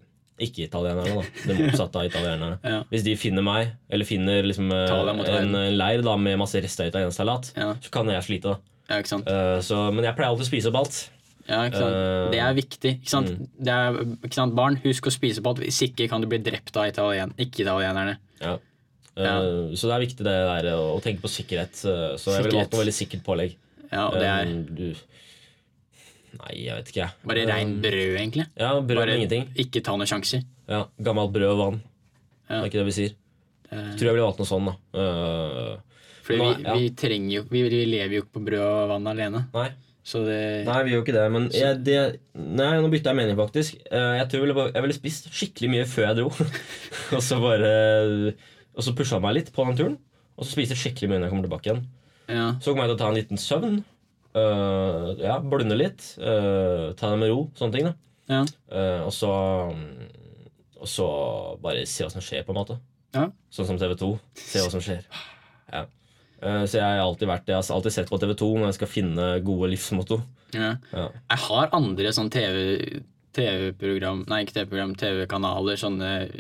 B: Ikke-italienerne, da. Det motsatte av italienerne.
C: Ja.
B: Hvis de finner meg, eller finner liksom, eh,
C: Ta deg mot
B: en,
C: verden.
B: en leir da med masse rester av italiensk salat,
C: Ja.
B: så kan jeg slite. da
C: Ja, ikke sant?
B: Eh, så, men jeg pleier alltid å spise opp alt.
C: Ja, ikke sant?
B: Eh, mm.
C: det er viktig. Ikke sant? Det er, ikke sant? Barn, husk å spise på alt. Hvis ikke kan du bli drept av italien ikke-italienerne.
B: Ja.
C: Ja.
B: Eh, Så det er viktig det der eh, å tenke på sikkerhet. eh, Så jeg ville
C: Sikkerhet.
B: valgt noe veldig sikkert pålegg.
C: Ja, og det er
B: Eh, du... Nei, jeg vet ikke. jeg.
C: bare
B: Eh,
C: rein brød, egentlig.
B: Ja, brød
C: Bare
B: med ingenting.
C: ikke ta noen sjanser.
B: Ja, Gammelt brød og vann.
C: Ja.
B: Det er ikke det vi sier.
C: Eh,
B: Tror jeg ville valgt noe sånn, da. Eh,
C: For vi,
B: Nå er- ja.
C: vi trenger jo vi, vi lever jo ikke på brød og vann alene.
B: nei.
C: Så det
B: nei, vi gjør ikke det. Men jeg, det, nei, nå bytta jeg mening, faktisk. Eh, Jeg tror jeg ville, bare- jeg ville spist skikkelig mye før jeg dro. og så bare Og så pusha meg litt på den turen. Og så spiste jeg skikkelig mye når jeg kommer tilbake igjen.
C: ja.
B: Så kommer jeg til å ta en liten søvn. øh, ja, Blunde litt. øh, ta det med ro. Sånne ting. da
C: Ja.
B: Eh, Og så mm, Og så bare se hva som skjer, på en måte.
C: Ja.
B: Sånn som TV2. Se hva som skjer. Ja. Eh, så jeg har alltid vært Jeg har alltid sett på TV2 når jeg skal finne gode livsmotto.
C: Ja.
B: Ja.
C: Jeg har andre sånn TV TV-program Nei, ikke TV-program, TV-kanaler, sånne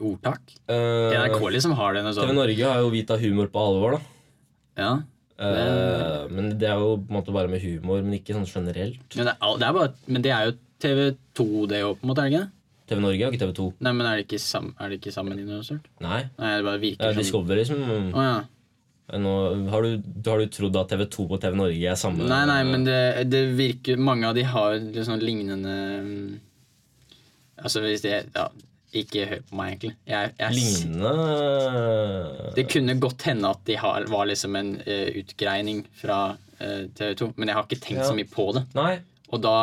C: ordtak.
B: Eh,
C: NRK liksom har det noe
B: TV
C: sånt.
B: Norge har jo Vi tar humor på alvor, da.
C: Ja.
B: Eh, men det er jo på en måte bare med humor, men ikke sånn generelt.
C: Men det, er, al- det er bare, men det er jo TV2 det òg, på en måte, er det ikke det?
B: TV Norge har ikke TV2.
C: Nei, men er det ikke, sånn- sam, er det ikke sammen i noe stort?
B: Nei.
C: Nei, det bare
B: Det
C: virker
B: er Discovery som
C: Å ja.
B: Eh, Nå, har, du, har du trodd at TV2 og TV Norge er samme
C: Nei, nei, men det, det virker Mange av de har litt sånn lignende mm, Altså hvis det ja, Ikke hør på meg, egentlig. Jeg, jeg,
B: Lignende
C: det kunne godt hende at de har, var liksom en eh, utgreining fra eh, TV2, men jeg har ikke tenkt
B: Ja.
C: så mye på det.
B: Nei.
C: Og da,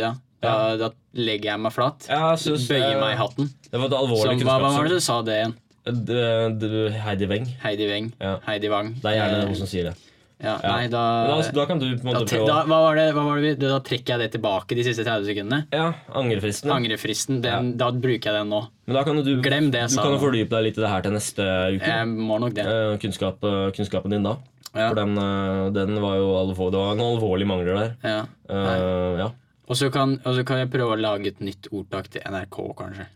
C: ja, da, da legger jeg meg flat,
B: Jeg synes,
C: bøyer
B: eh,
C: meg i hatten.
B: Det var et
C: Så,
B: alvorlig
C: hva, hva var
B: kunnskapsord.
C: det du sa det igjen?
B: Det- det- Heidi Weng.
C: Heidi Weng.
B: Ja.
C: Heidi Wang.
B: Det er gjerne
C: Eh,
B: noen som sier det.
C: ja,
B: Ja.
C: Nei, da,
B: Men da,
C: da,
B: da kan du på en måte
C: te-
B: prøve
C: da,
B: å
C: hva var det, hva var det, vi- da trekker jeg det tilbake de siste 30 sekundene.
B: Ja, angrefristen.
C: Angrefristen, den, da bruker jeg den nå.
B: Men da kan jo du,
C: Glem det jeg
B: du
C: sa
B: kan jo
C: nå.
B: fordype deg litt i det her til neste uke.
C: Jeg må nok det.
B: Eh, Kunnskap, eh, kunnskapen din da.
C: Ja.
B: For den, eh, den var jo alvor, det var en alvorlig mangler der.
C: Ja.
B: Eh, ja.
C: Og så kan, og så kan jeg prøve å lage et nytt ordtak til NRK, kanskje.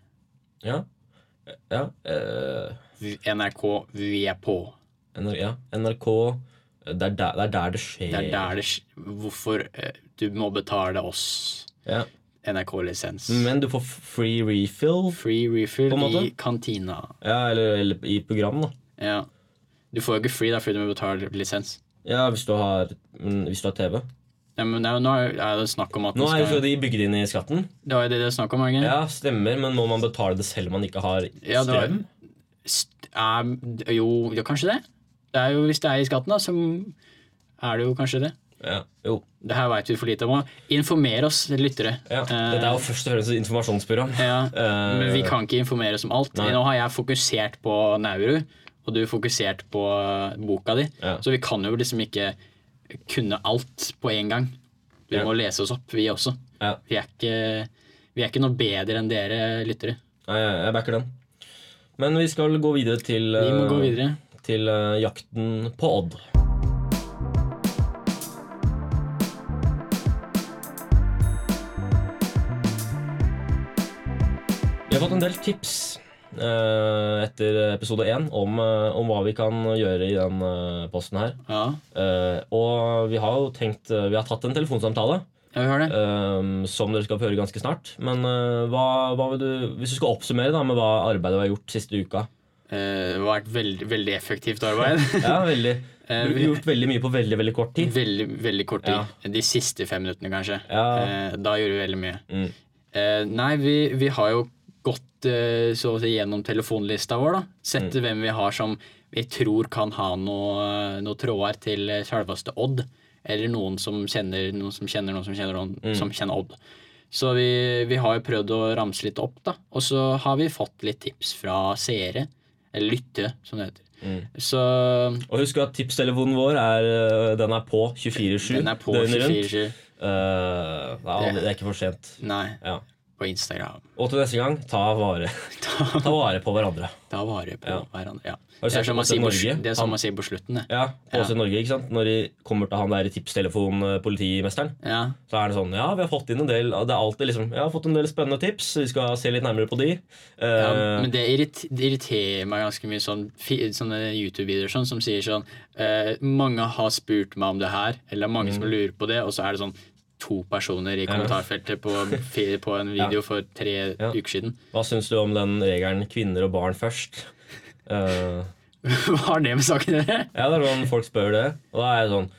B: Ja. ja. eh,
C: V- NRK, vi er på.
B: NR ja. NRK eh, det er, der, det er der det skjer.
C: Det er der det sk- Hvorfor eh, du må betale oss
B: Ja.
C: NRK-lisens.
B: Men du får free refill.
C: Free refill
B: På en måte.
C: i kantina.
B: Ja, eller, eller i program, da.
C: Ja. Du får jo ikke free da, fordi du må betale lisens.
B: Ja, hvis du har, mm, hvis du har TV.
C: Ja, men det er jo, nå er er det snakk om at
B: Nå
C: du
B: er jo
C: skal,
B: de bygd inn i skatten.
C: Det var jo det det er snakk om, var det ikke?
B: Ja, stemmer, men må man betale det selv om man ikke har
C: Ja, det var-
B: strøm?
C: St- er, jo, ja, kanskje det. det er jo, hvis det er i skatten, da, så er det jo kanskje det.
B: Ja, jo.
C: Det her veit vi for lite om. Informer oss, lyttere.
B: Ja.
C: Eh,
B: Dette er jo først og fremst et informasjonsprogram.
C: ja,
B: Eh,
C: Men vi kan ikke informere oss om alt.
B: Nei.
C: Nå har jeg fokusert på Nauru, og du fokusert på eh, boka di.
B: Ja.
C: Så vi kan jo liksom ikke kunne alt på en gang. Vi
B: Ja.
C: må lese oss opp, vi også.
B: Ja.
C: Vi er ikke, vi er ikke noe bedre enn dere lyttere.
B: Nei, jeg jeg backer den. Men vi skal gå videre til
C: Vi må
B: eh,
C: gå videre.
B: Til eh, jakten på Odd. Vi har fått en del tips eh, etter episode én om, eh, om hva vi kan gjøre i den eh, posten her.
C: Ja,
B: Eh, og vi har jo tenkt eh, Vi har tatt en telefonsamtale
C: ja vi har det.
B: eh, som dere skal få høre ganske snart. Men eh, hva, hva vil du Hvis du skal oppsummere da med hva arbeidet vi har gjort siste uka
C: Eh, Det har vært veldig, veldig effektivt arbeid.
B: Ja, veldig
C: Eh,
B: Vi har gjort veldig mye på veldig, veldig kort tid.
C: Veldig, veldig kort tid. De siste fem minuttene, kanskje.
B: Ja.
C: Eh, Da gjorde vi veldig mye.
B: Mm.
C: Eh, Nei, vi, vi har jo gått eh, så å si gjennom telefonlista vår, da. Sett
B: Mm.
C: hvem vi har som vi tror kan ha noe- noen tråder til eh, selveste Odd. Eller noen som kjenner noen som kjenner noen som kjenner noen
B: Mm.
C: som kjenner Odd. Så vi, vi har jo prøvd å ramse litt opp, da. Og så har vi fått litt tips fra seere. Eller lyttere, som det heter.
B: Mm.
C: Så
B: Og husk at tipstelefonen vår er, eh, den er på 24-7
C: den er på
B: døgnet rundt.
C: 24-7.
B: Eh, det, er aldri, det er ikke for sent.
C: Nei,
B: Ja.
C: på Instagram.
B: Og til neste gang, ta vare,
C: Ta,
B: ta vare på hverandre.
C: ta vare på
B: Ja.
C: hverandre. Ja.
B: Har du
C: Det er
B: sett
C: som man
B: Åse
C: sier på,
B: Norge?
C: sl- det er som man sier på slutten. Det.
B: Ja, på
C: Ja.
B: Åse Norge, ikke sant? Når de kommer til han der tipstelefonpolitimesteren,
C: Ja.
B: så er det sånn Ja, vi har fått inn en del Det er alltid liksom Jeg har fått en del spennende tips, vi skal se litt nærmere på de. Eh,
C: Ja, men det, irrit, det irriterer meg ganske mye sånn, fi- sånne YouTube-videoer sånn, som sier sånn eh, Mange har spurt meg om det her, eller mange
B: Mm.
C: som lurer på det, og så er det sånn to personer i kommentarfeltet på, fi- på en video for tre
B: Ja.
C: uker siden.
B: Hva syns du om den regelen 'kvinner og barn først'? Eh,
C: Hva har det med saken å gjøre?
B: Ja, det er sånn folk spør det. Og da er jeg sånn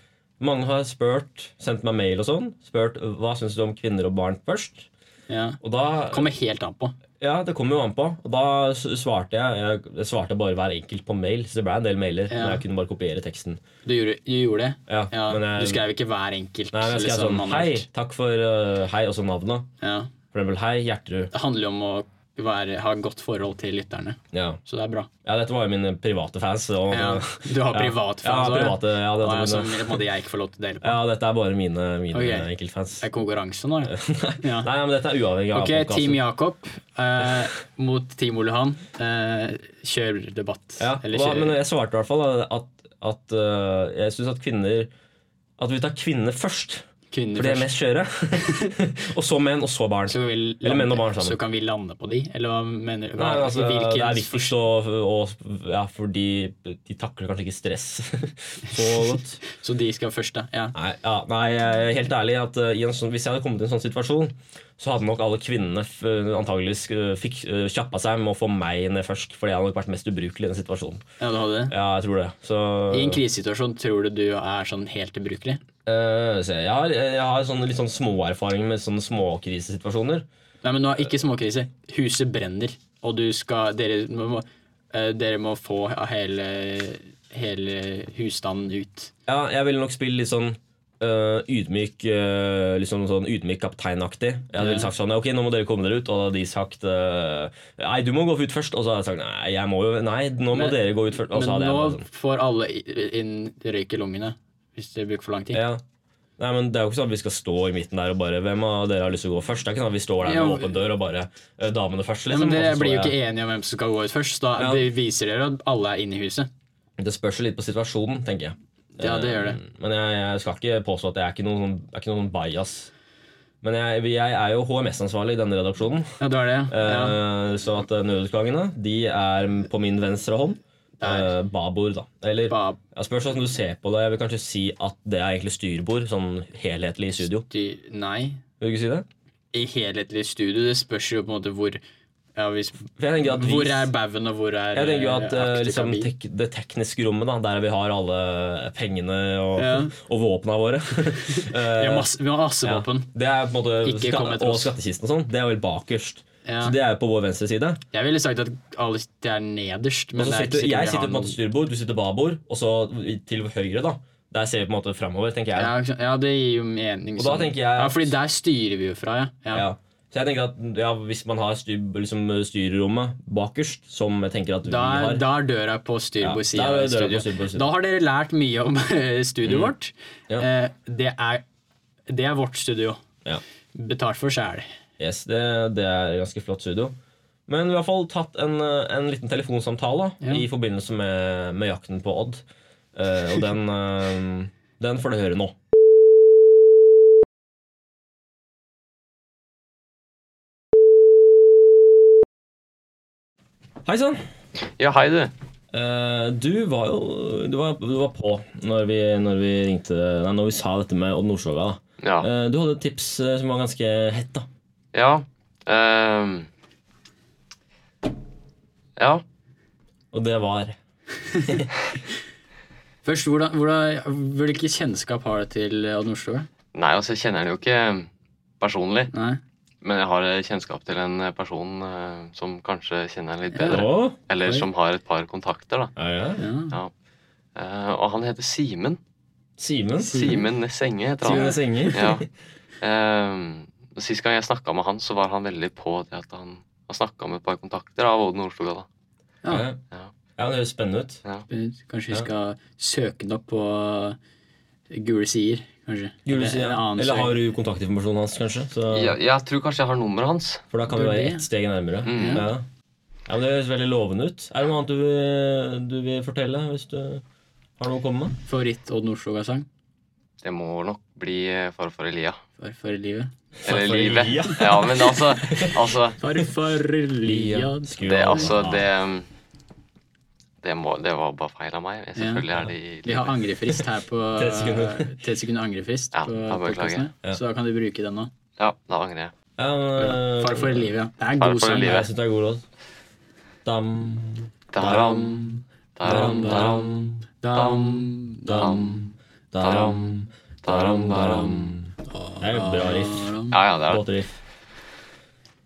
B: Mange har spurt, sendt meg mail og sånn, spurt hva syns du om kvinner og barn først.
C: Ja.
B: Og da
C: Kommer helt an på.
B: Ja, det kommer jo an på. Og da s- svarte jeg Jeg jeg svarte bare hver enkelt på mail, så det ble en del mailer.
C: Ja.
B: Men jeg kunne bare kopiere teksten.
C: Du gjorde, du gjorde det?
B: Ja, men jeg-
C: du skrev ikke hver enkelt?
B: Nei, men jeg skrev
C: liksom,
B: sånn Hei,
C: manuelt.
B: takk for eh, Hei, også navnet.
C: Ja.
B: For eksempel Hei, Gjertrud.
C: Det handler jo om å være, ha godt forhold til lytterne,
B: Ja.
C: så det er bra.
B: ja, dette var jo mine private fans. Og,
C: Ja. Du har private
B: Ja,
C: fans også, ja?
B: private, ja,
C: Å, ja,
B: dette,
C: som
B: er mine,
C: måtte jeg ikke få lov til å dele på.
B: ja, dette er bare mine, mine
C: Ok.
B: enkeltfans.
C: Det er konkurranse nå, ja. ja.
B: Nei, men dette er uavhengig av
C: Ok,
B: podcasten.
C: Team Jakob eh, mot Team Ole Han. Eh, kjør debatt.
B: Ja,
C: Eller
B: og da,
C: kjør
B: men eh, jeg svarte eh, i hvert fall da, at, at øh, jeg syns at kvinner At vi tar kvinnene først.
C: Kvinner
B: For de er
C: først.
B: mest skjøre. og så menn, og så barn.
C: Så, vil
B: Eller menn og barn sammen.
C: så kan vi lande på de? Eller hva mener du?
B: Nei, men altså,
C: Hvilken-
B: det er viktigst å og, Ja, fordi de takler kanskje ikke stress så godt.
C: Så de skal først, da? Ja.
B: Nei, ja, nei jeg er helt ærlig at eh, i en sånn, Hvis jeg hadde kommet i en sånn situasjon, så hadde nok alle kvinnene f- antageligvis eh, fikk eh, kjappa seg med å få meg ned først. Fordi jeg hadde nok vært mest ubrukelig i den situasjonen.
C: ja, du hadde det?
B: Ja, jeg tror det. Så,
C: I en krisesituasjon tror du du er sånn helt ubrukelig?
B: eh, så jeg har, jeg har sånne, litt sånn småerfaringer med sånne småkrisesituasjoner.
C: Nei, men nå er ikke småkrise. Huset brenner, og du skal Dere må, eh, dere må få hele, hele husstanden ut.
B: Ja, jeg ville nok spille litt sånn øh, ydmyk øh, liksom sånn ydmyk kapteinaktig. Jeg hadde vel sagt sånn Ok, nå må dere komme dere ut. Og da hadde de sagt øh, Nei, du må gå ut først. Og så hadde jeg sagt Nei, jeg må jo Nei, nå må
C: Men-
B: dere gå ut først. Og
C: Men
B: så hadde
C: nå
B: jeg bare sånn
C: får alle i- inn røyk i lungene hvis dere bruker for lang tid.
B: Ja. Nei, men Det er jo ikke sånn at vi skal stå i midten der og bare Hvem av dere har lyst til å gå først? Det er ikke sånn at vi står der med
C: Jo.
B: åpen dør og bare øh, Damene først,
C: Ja,
B: liksom.
C: men Dere
B: og så står
C: blir jo
B: jeg-
C: ikke enige om hvem som skal gå ut først. Da
B: Ja.
C: det viser dere at alle er inne i huset.
B: Det spørs jo litt på situasjonen, tenker jeg.
C: Ja, det gjør det.
B: Eh, Men jeg, jeg skal ikke påstå at jeg er ikke noen, sånn- jeg er ikke noen bias. Men jeg, jeg er jo HMS-ansvarlig i denne redaksjonen.
C: Ja, du er det. Ja.
B: Eh, Så at eh, nødutgangene De er på min venstre hånd.
C: Der.
B: Eh, Babord, da. Eller
C: Ba-
B: jeg spørs hvordan du ser på det. Jeg vil kanskje si at det er egentlig styrbord, sånn helhetlig i studio.
C: dy- nei.
B: Vil du ikke si det?
C: I helhetlig studio, det spørs jo på en måte hvor ja, hvis,
B: For jeg tenker at vi,
C: Hvor er baugen, og hvor er
B: jeg tenker jo at eh,
C: aktiv
B: liksom,
C: kabin?
B: tek, det tekniske rommet, da, der vi har alle pengene og,
C: Ja.
B: og våpna våre
C: Vi
B: Eh,
C: har masse, vi har masse
B: ja.
C: våpen.
B: Det er på en måte
C: Ikke kom etter
B: og
C: oss.
B: skattekisten og sånn. Det er vel bakerst.
C: Ja.
B: Så det er jo på vår venstre side.
C: Jeg ville sagt at alle sitter her nederst. Men
B: Og så
C: det er ikke
B: sitter,
C: sikkert
B: jeg
C: vi
B: sitter
C: har
B: på en måte
C: noen-
B: styrbord, du sitter babord, og så til høyre, da. Der ser vi på en måte framover, tenker jeg.
C: ja,
B: Ja.
C: ikke sant? ja, det gir jo mening.
B: Og da
C: sånn.
B: tenker jeg at-
C: Ja, fordi der styrer vi jo fra, ja. ja.
B: Så jeg tenker at ja, Hvis man har styr, liksom, styrerommet bakerst, som jeg tenker at vi
C: Da,
B: har
C: er, da er døra på styrbord
B: Ja,
C: side
B: da er døra
C: av
B: på
C: studio.
B: styrbord side.
C: Da har dere lært mye om eh, studioet vårt.
B: Ja.
C: Eh, det, er, det er vårt studio.
B: Ja.
C: Betalt for sjæl.
B: yes, det, det er et ganske flott studio. Men vi har i hvert fall tatt en, eh, en liten telefonsamtale
C: Ja.
B: i forbindelse med, med jakten på Odd. Eh, og den, eh, den får du høre nå. Hei sann!
A: Ja, hei du.
B: Eh, du var jo du var, du var på når vi, når vi ringte Nei, når vi sa dette med Odd Nordstoga. da.
A: Ja.
B: Eh, du hadde et tips eh, som var ganske hett. da.
A: Ja. ehm. ja.
B: Og det var
C: Først, hvordan, hvordan, Hvilken kjennskap har du til Odd Nordstoga?
A: Nei, altså, jeg kjenner den jo ikke personlig,
C: Nei?
A: men jeg har kjennskap til en person eh, som kanskje kjenner den litt bedre.
B: Å,
A: Eller
C: oi.
A: som har et par kontakter, da.
B: ja, ja.
C: Ja.
A: Eh, og han heter Simen.
B: Simen.
A: Simen Næss Enge heter han.
B: Simen Senger.
A: Ja. Ehm, sist gang jeg snakka med han, så var han veldig på det at han, han snakka med et par kontakter av Odd Nordstoga, da.
C: Ja.
B: Ja.
A: Ja.
B: ja, det høres spennende ut.
C: Kanskje vi
B: Ja.
C: skal søke den opp på gule sider, kanskje.
B: Gjorde du
C: Eller
B: si-
C: en annen
B: Eller
C: søk.
B: har du kontaktinformasjonen hans, kanskje? Så,
A: Jeg, jeg tror kanskje jeg har nummeret hans.
B: For da kan vi
C: Gjør
B: være
C: det.
B: ett steg nærmere.
A: Mm.
B: Ja. ja, men Det høres veldig lovende ut. Er det noe annet du vil, du vil fortelle? Hvis du har noe å komme med?
C: Favoritt Odd Nordstoga-sang
A: Det må nok bli eh, Farfar Elia.
C: for, for livet?
A: Eller
B: Farfar
A: livet.
B: Elia.
A: Ja, men altså, altså
C: Farfar Liad.
B: Skru
A: Det,
B: av.
A: altså, det um, det, må, det var bare feil av meg. Selvfølgelig er det i
C: Vi har angrefrist her på
B: 30 sekunder.
C: 30 sekunder angrefrist
A: Ja,
C: på
A: da beklager jeg.
C: podkastene.
B: Ja.
C: Så da kan du bruke den nå.
A: Ja, da angrer jeg.
B: Ja, men, eh,
C: Farfar livet, ja. Det er en
A: Farfar
C: god sang.
A: livet.
B: Jeg syns det er god låt. Dam,
A: Daram, daram,
B: daram,
A: daram,
B: daram,
C: Dam, dam,
B: dam, daram, daram, daram. Det er et bra riff.
C: dam.
A: Ja, ja, det er det.
B: Godt riff.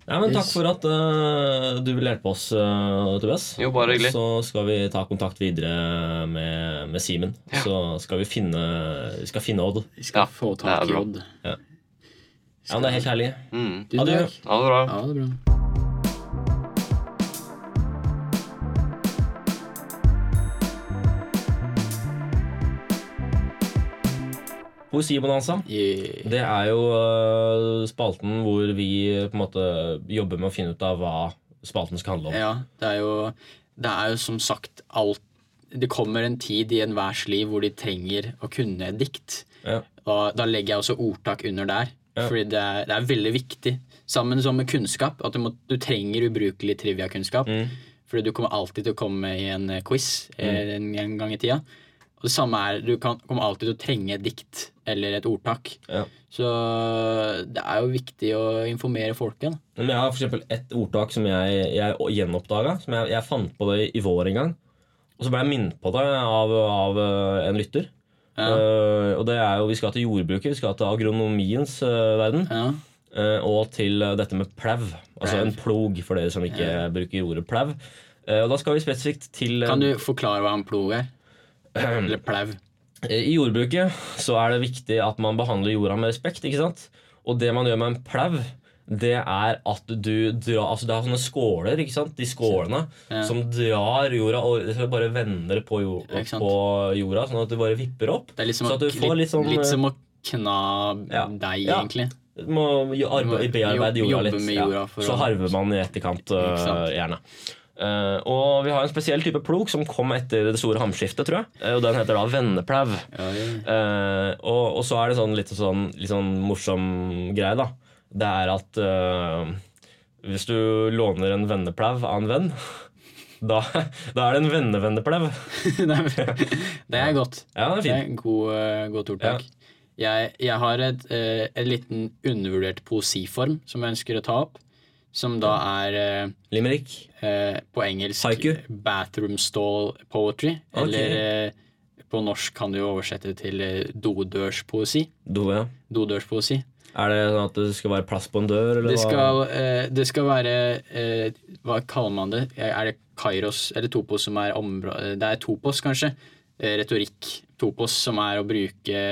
B: Nei, men Takk
C: Yes.
B: for at eh, du ville hjelpe oss, eh, Tobias.
A: Jo, bare hyggelig.
B: Så skal vi ta kontakt videre med, med Simen. Så skal vi finne, vi skal finne Odd.
C: Vi skal
A: Ja,
C: få
A: det er
C: tak i
A: bra.
C: Odd.
B: Ja, men Det er helt herlig.
A: Mm.
C: Tusen
B: Adjø.
C: takk.
A: Ha det bra.
C: Ja, det er bra.
B: Poesibonanza.
C: I-
B: altså? Det er jo øh, spalten hvor vi øh, på en måte jobber med å finne ut av hva spalten skal handle om.
C: Ja, det er jo Det er jo som sagt alt Det kommer en tid i enhvers liv hvor de trenger å kunne dikt.
B: Ja.
C: Og da legger jeg også ordtak under der.
B: Ja.
C: Fordi det er, det er veldig viktig. Sammen som med kunnskap. At du, må, du trenger ubrukelig triviakunnskap.
B: Mm.
C: Fordi du kommer alltid til å komme i en eh, quiz eh, en, en gang i tida. Og det samme er, du kan, kommer alltid til å trenge et dikt eller et ordtak.
B: Ja.
C: Så det er jo viktig å informere folket. Da.
B: Men jeg har for eksempel et ordtak som jeg, jeg gjenoppdaga. Som jeg, jeg fant på det i- i vår en gang. Og så ble jeg minnet på det av, av eh, en lytter.
C: Ja.
B: Eh, og det er jo, Vi skal til jordbruket, vi skal til agronomiens eh, verden.
C: Ja.
B: Eh, og til eh, dette med plau. Altså
C: Plau.
B: en plog, for dere som ikke bruker ordet plau. Eh, og da skal vi spesifikt til eh,
C: Kan du forklare hva en plog er? Eller plau?
B: Eh, I jordbruket så er det viktig at man behandler jorda med respekt. ikke sant? Og det man gjør med en plau, det er at du drar Altså det er sånne skåler, ikke sant? De skålene
C: Ja.
B: som drar jorda og det bare vender på, jo-
C: Ikke sant.
B: på jorda, sånn at du bare vipper opp.
C: Det er litt som,
B: Så
C: å,
B: at du får
C: litt,
B: litt sånn, eh,
C: litt som å kna
B: Ja.
C: deg,
B: Ja.
C: egentlig.
B: Du må jo arbeide,
C: Du må
B: bearbeide
C: jo-
B: jorda
C: jobbe
B: litt.
C: med jorda for
B: ja. Så
C: å-
B: harver man i etterkant, øh,
C: Ikke sant?
B: gjerne. Eh, og vi har en spesiell type plog som kom etter det store hamskiftet, tror jeg. Eh, og den heter da venneplau. Eh, og, og så er det sånn litt sånn, litt sånn morsom greie, da. Det er at eh, hvis du låner en venneplau av en venn, da, da er det en vennevenneplau.
C: det er godt.
B: Ja, den er
C: Det
B: fin.
C: er god, eh, godt ordtak. Jeg, jeg har et, eh, en liten undervurdert poesiform som jeg ønsker å ta opp. Som da er
B: Limerick.
C: eh, eh, på engelsk
B: Haiku?
C: bathroom stall poetry.
B: Ok.
C: Eller eh, på norsk kan du jo oversette til eh, dodørspoesi.
B: Do, ja.
C: Dodørspoesi.
B: Er det sånn at det skal være plass på en dør? Eller
C: Det
B: hva?
C: skal, eh, det skal være eh, Hva kaller man det? Er det Kairos eller Topos som er området Det er Topos, kanskje. Eh, retorikk. Topos som er å bruke,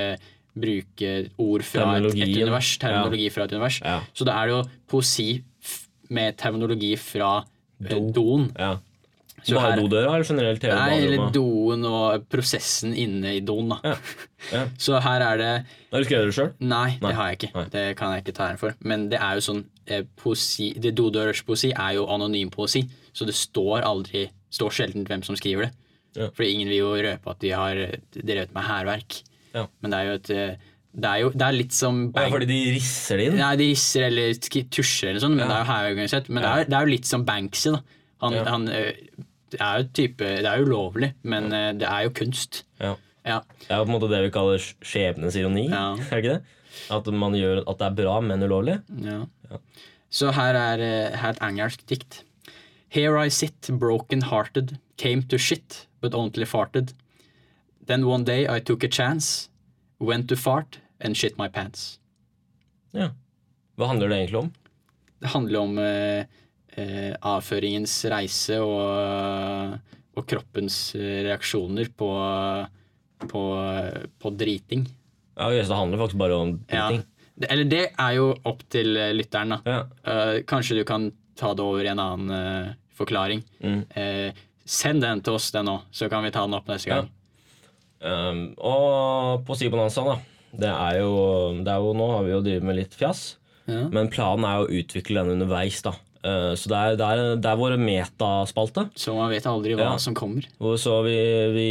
C: bruke ord fra et, et
B: Terminologien.
C: univers. Terminologi fra et univers.
B: Ja.
C: Så da er det jo poesi f med terminologi fra eh, doen.
B: Ja.
C: Så
B: Bare
C: her-
B: dodøra eller generelt hele
C: Nei, eller
B: baderommet?
C: doen og prosessen inne i doen, da.
B: Ja. Ja.
C: Så her er det
B: Har du skrevet det sjøl?
C: Nei,
B: Nei,
C: det har jeg ikke.
B: nei.
C: Det kan jeg ikke ta æren for. Men det er jo sånn eh, poesi, det dodørspoesi er jo anonym poesi, så det står aldri står sjelden hvem som skriver det.
B: Ja.
C: Fordi ingen vil jo røpe at de har eh, drevet med hærverk.
B: Ja.
C: Men det er jo et eh, Det er jo det er litt som bang...
B: Fordi de risser det inn?
C: Nei, de risser eller sk- tusjer eller sånn, men
B: Ja.
C: det er jo hærorganisert. Men
B: Ja.
C: det, er, det er jo litt som Banksy, da. Han,
B: Ja.
C: han eh, det er jo type Det er jo ulovlig, men eh, det er jo kunst.
B: Ja.
C: Ja.
B: Det er jo på en måte det vi kaller sk- skjebnens ironi.
C: Ja.
B: Er det ikke det? At man gjør at det er bra, men ulovlig.
C: Ja. Så her er, eh, her er et engelsk dikt. Here I sit, broken hearted, came to shit, but only farted. Then one day I took a chance, went to fart and shit my pants.
B: Ja. Hva handler det egentlig om?
C: Det handler om eh, eh, avføringens reise og, og kroppens eh, reaksjoner på, på, på driting.
B: Ja, ok, så Det handler faktisk bare om
C: Ja.
B: driting.
C: Det, eller det er jo opp til eh, lytteren, da.
B: Ja.
C: Eh, kanskje du kan ta det over i en annen eh, forklaring.
B: Mm.
C: Eh, send den til oss, den òg, så kan vi ta den opp neste gang.
B: Um, og på Sibonanza, da. Det er, jo, det er jo Nå har vi jo drevet med litt fjas.
C: Ja.
B: Men planen er jo å utvikle den underveis, da. Eh, så det er, det er, det er vår metaspalte.
C: Så man vet aldri hva
B: Ja.
C: som kommer.
B: Og Så vi, vi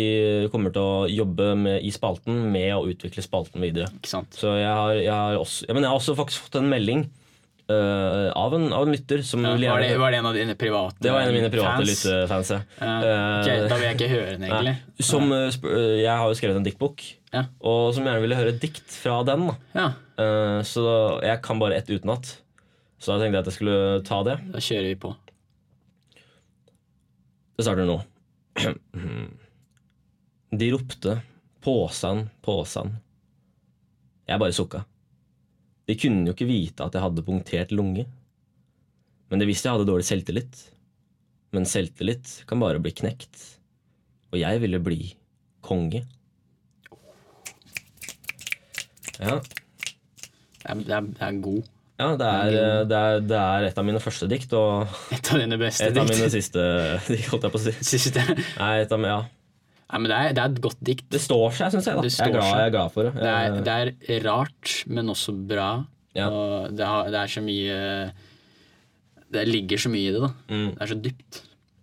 B: kommer til å jobbe med, i spalten med å utvikle spalten videre.
C: Ikke sant?
B: Så jeg har, jeg har også ja, Men jeg har også faktisk fått en melding eh, av, en, av en lytter som
C: Ja,
B: ville
C: var, det,
B: gjerne-
C: var det en av dine private
B: det var en av mine private
C: fans?
B: lyttefans. ja.
C: Ja.
B: Eh,
C: ok, da vil jeg ikke høre den, egentlig.
B: nei, som, eh, sp- eh, jeg har jo skrevet en diktbok,
C: Ja.
B: og som gjerne ville høre et dikt fra den. Da.
C: Ja,
B: Eh, så jeg kan bare ett utenat. Så da tenkte jeg at jeg skulle ta det.
C: da kjører vi på.
B: Det starter nå. De ropte 'Påsan, påsan'. Jeg bare sukka. De kunne jo ikke vite at jeg hadde punktert lunge. Men de visste jeg hadde dårlig selvtillit. Men selvtillit kan bare bli knekt. Og jeg ville bli konge. Ja,
C: Det er, det er, det er god.
B: ja det, er, eh, det, er, det er et av mine første dikt, og
C: Et av dine beste
B: et av
C: dikt.
B: mine siste dikt, holdt jeg på å si.
C: Siste. Nei,
B: Nei, et av, ja.
C: men det er, det er et godt dikt.
B: Det står seg, syns jeg. da
C: Det
B: jeg, er
C: står
B: glad,
C: seg.
B: jeg er glad for det.
C: Det er,
B: Jeg-
C: det er rart, men også bra.
B: Eh. Ja.
C: Og det, har, det er så mye Det ligger så mye i det, da.
B: Mm.
C: Det er så dypt.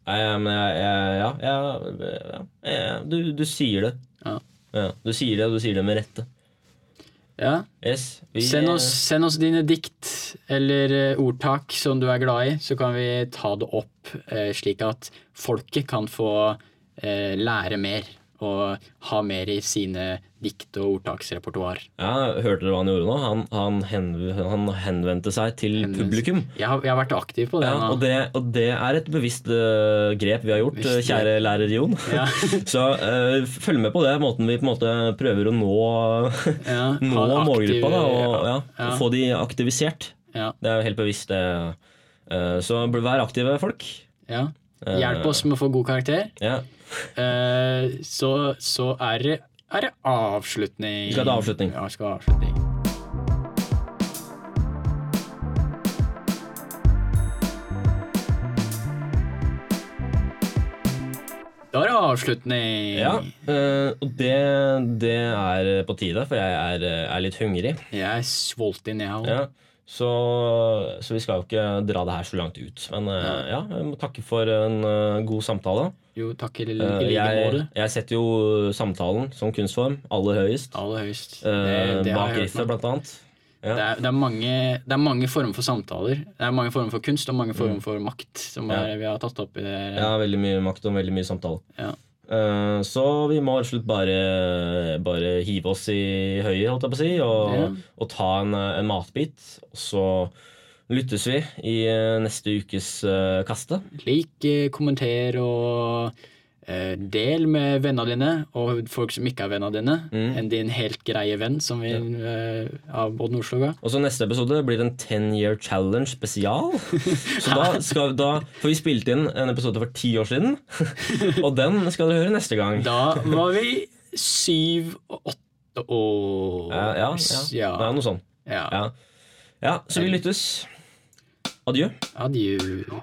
B: Nei, ja, men jeg, jeg, ja, jeg, ja, jeg, du, du sier det.
C: Ja.
B: Ja, du sier det, og du sier det med rette.
C: Ja.
B: Yes, vi, eh,
C: Send oss, send oss dine dikt eller eh, ordtak som du er glad i, så kan vi ta det opp eh, slik at folket kan få eh, lære mer og ha mer i sine dikt- og ordtaksrepertoar.
B: ja, Hørte dere hva han gjorde nå? Han, han, henv han henvendte seg til
C: Henvendelse.
B: publikum.
C: Jeg har, jeg har vært aktiv på det
B: Ja,
C: nå.
B: og, det, og det er et bevisst øh, grep vi har gjort,
C: Bevisst
B: øh, kjære lærer Jon.
C: Ja.
B: Så øh, følg med på det, måten vi på en måte prøver å nå,
C: Ja, ha
B: nå
C: en aktiv-
B: målgruppa. Da, og ja,
C: Ja.
B: Få de aktivisert.
C: ja,
B: Det er jo helt bevisst. det. Eh, så bl- vær aktive folk.
C: ja.
B: Eh.
C: Hjelp oss med å få god karakter.
B: Ja.
C: Eh, så, så er det, er det avslutning.
B: Vi skal til avslutning.
C: Ja, vi skal ha avslutning. Da er det avslutning.
B: Ja, eh, og det, det er på tide, for jeg er, eh, er litt hungrig.
C: Jeg er sulten, jeg òg.
B: Ja. Så, så vi skal jo ikke dra det her så langt ut. Men eh, ja, jeg må takke for en eh, god samtale.
C: Jo, takk i li-
B: Eh,
C: i like
B: jeg,
C: måte.
B: jeg setter jo samtalen som kunstform aller høyest.
C: Aller høyest.
B: Eh,
C: Det- det har
B: bak
C: jeg hørt
B: riffet,
C: nå.
B: blant annet. Ja.
C: Det er, det, er mange, det er mange former for samtaler. Det er mange former for kunst og mange former for makt som
B: Mm. Ja.
C: er, vi har tatt opp i det. her.
B: Ja, veldig mye makt og veldig mye samtale.
C: Ja.
B: Eh, så vi må rett og slett bare, bare hive oss i høyet, holdt jeg på å si, og,
C: Ja.
B: og ta en, eh, en matbit. Og så lyttes vi i eh, neste ukes eh, kaste.
C: Lik, eh, kommenter og eh, del med vennene dine og folk som ikke er vennene dine. Enn din helt greie venn som vi eh, av Odd Nordstoga.
B: Og så neste episode blir en 10 year challenge spesial. Så da skal, da, for vi spilte inn en episode for ti år siden, og den skal dere høre neste gang.
C: Da var vi syv og åtte år.
B: Eh, ja, ja.
C: ja.
B: Det er noe sånn.
C: ja.
B: Ja. ja, så vi lyttes. Adjø.
C: Adjø.